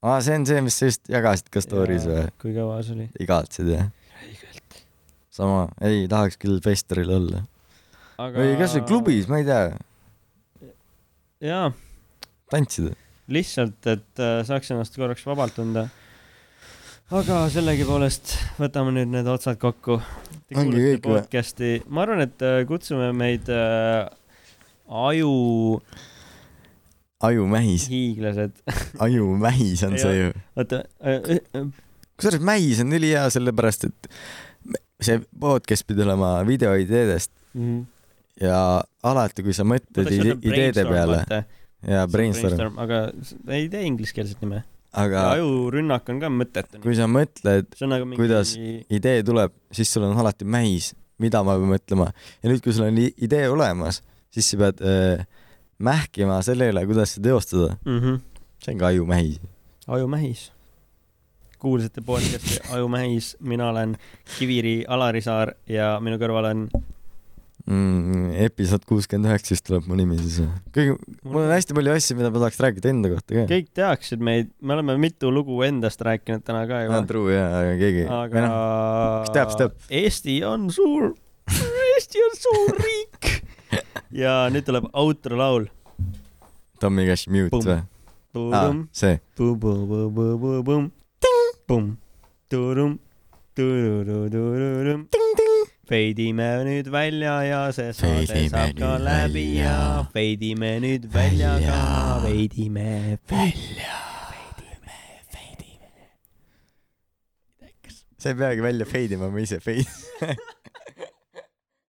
B: aa , see on see , mis sa just jagasid ka story's või ?
A: kui kaua see oli ?
B: igatsed jah ? sama , ei tahaks küll festivalil olla aga... . või kas või ? klubis , ma ei tea ,
A: jaa ,
B: tantsida .
A: lihtsalt , et äh, saaks ennast korraks vabalt tunda . aga sellegipoolest võtame nüüd need otsad kokku .
B: Ongi kõik või?
A: podcast'i , ma arvan , et äh, kutsume meid äh, ajuhiiglased .
B: ajumähis , ajumähis on see ju .
A: oota äh, ,
B: kusjuures mähis on ülihea sellepärast , et me- see podcast pidi olema videoideedest
A: äh,
B: ja alati , kui sa mõtled Mhm. ide ideede peale ja brainstorm ,
A: aga s- ei tee ingliskeelset nime .
B: aga
A: ajurünnak on ka mõttetu .
B: kui sa mõtled ,
A: see on nagu mingi
B: kuidas- idee tuleb , siis sul on alati mähis , mida ma pean mõtlema . ja nüüd , kui sul on i- idee olemas , siis sa pead öö, mähkima selle üle , kuidas seda teostada .
A: mm -hmm.
B: see on ka ajumähis .
A: ajumähis . kuulsite podcast'i Ajumähis , mina olen Kiviri Alarisaar ja minu kõrval on
B: mm, . episood kuuskümmend üheksa just tuleb mu nimi siis . kõige , mul on hästi palju asju , mida ma tahaks rääkida enda kohta ka .
A: kõik teaksid meid , me oleme mitu lugu endast rääkinud täna ka
B: aa ,
A: juba .
B: true jaa , aga keegi ,
A: aga
B: või noh , kes teab, see teab.
A: Eesti on suur , Eesti on suur riik . ja nüüd tuleb outro laul .
B: Tommy Cash Mute
A: Pumm.
B: või ? aa , see .
A: veidime nüüd välja ja see saade
B: Veidime
A: saab ka
B: nüüd
A: läbi ja
B: välja.
A: veidime nüüd välja ka
B: Välja.
A: veidime .
B: välja . veidime , veidime . sa ei peagi välja fade ima , ma ise fade .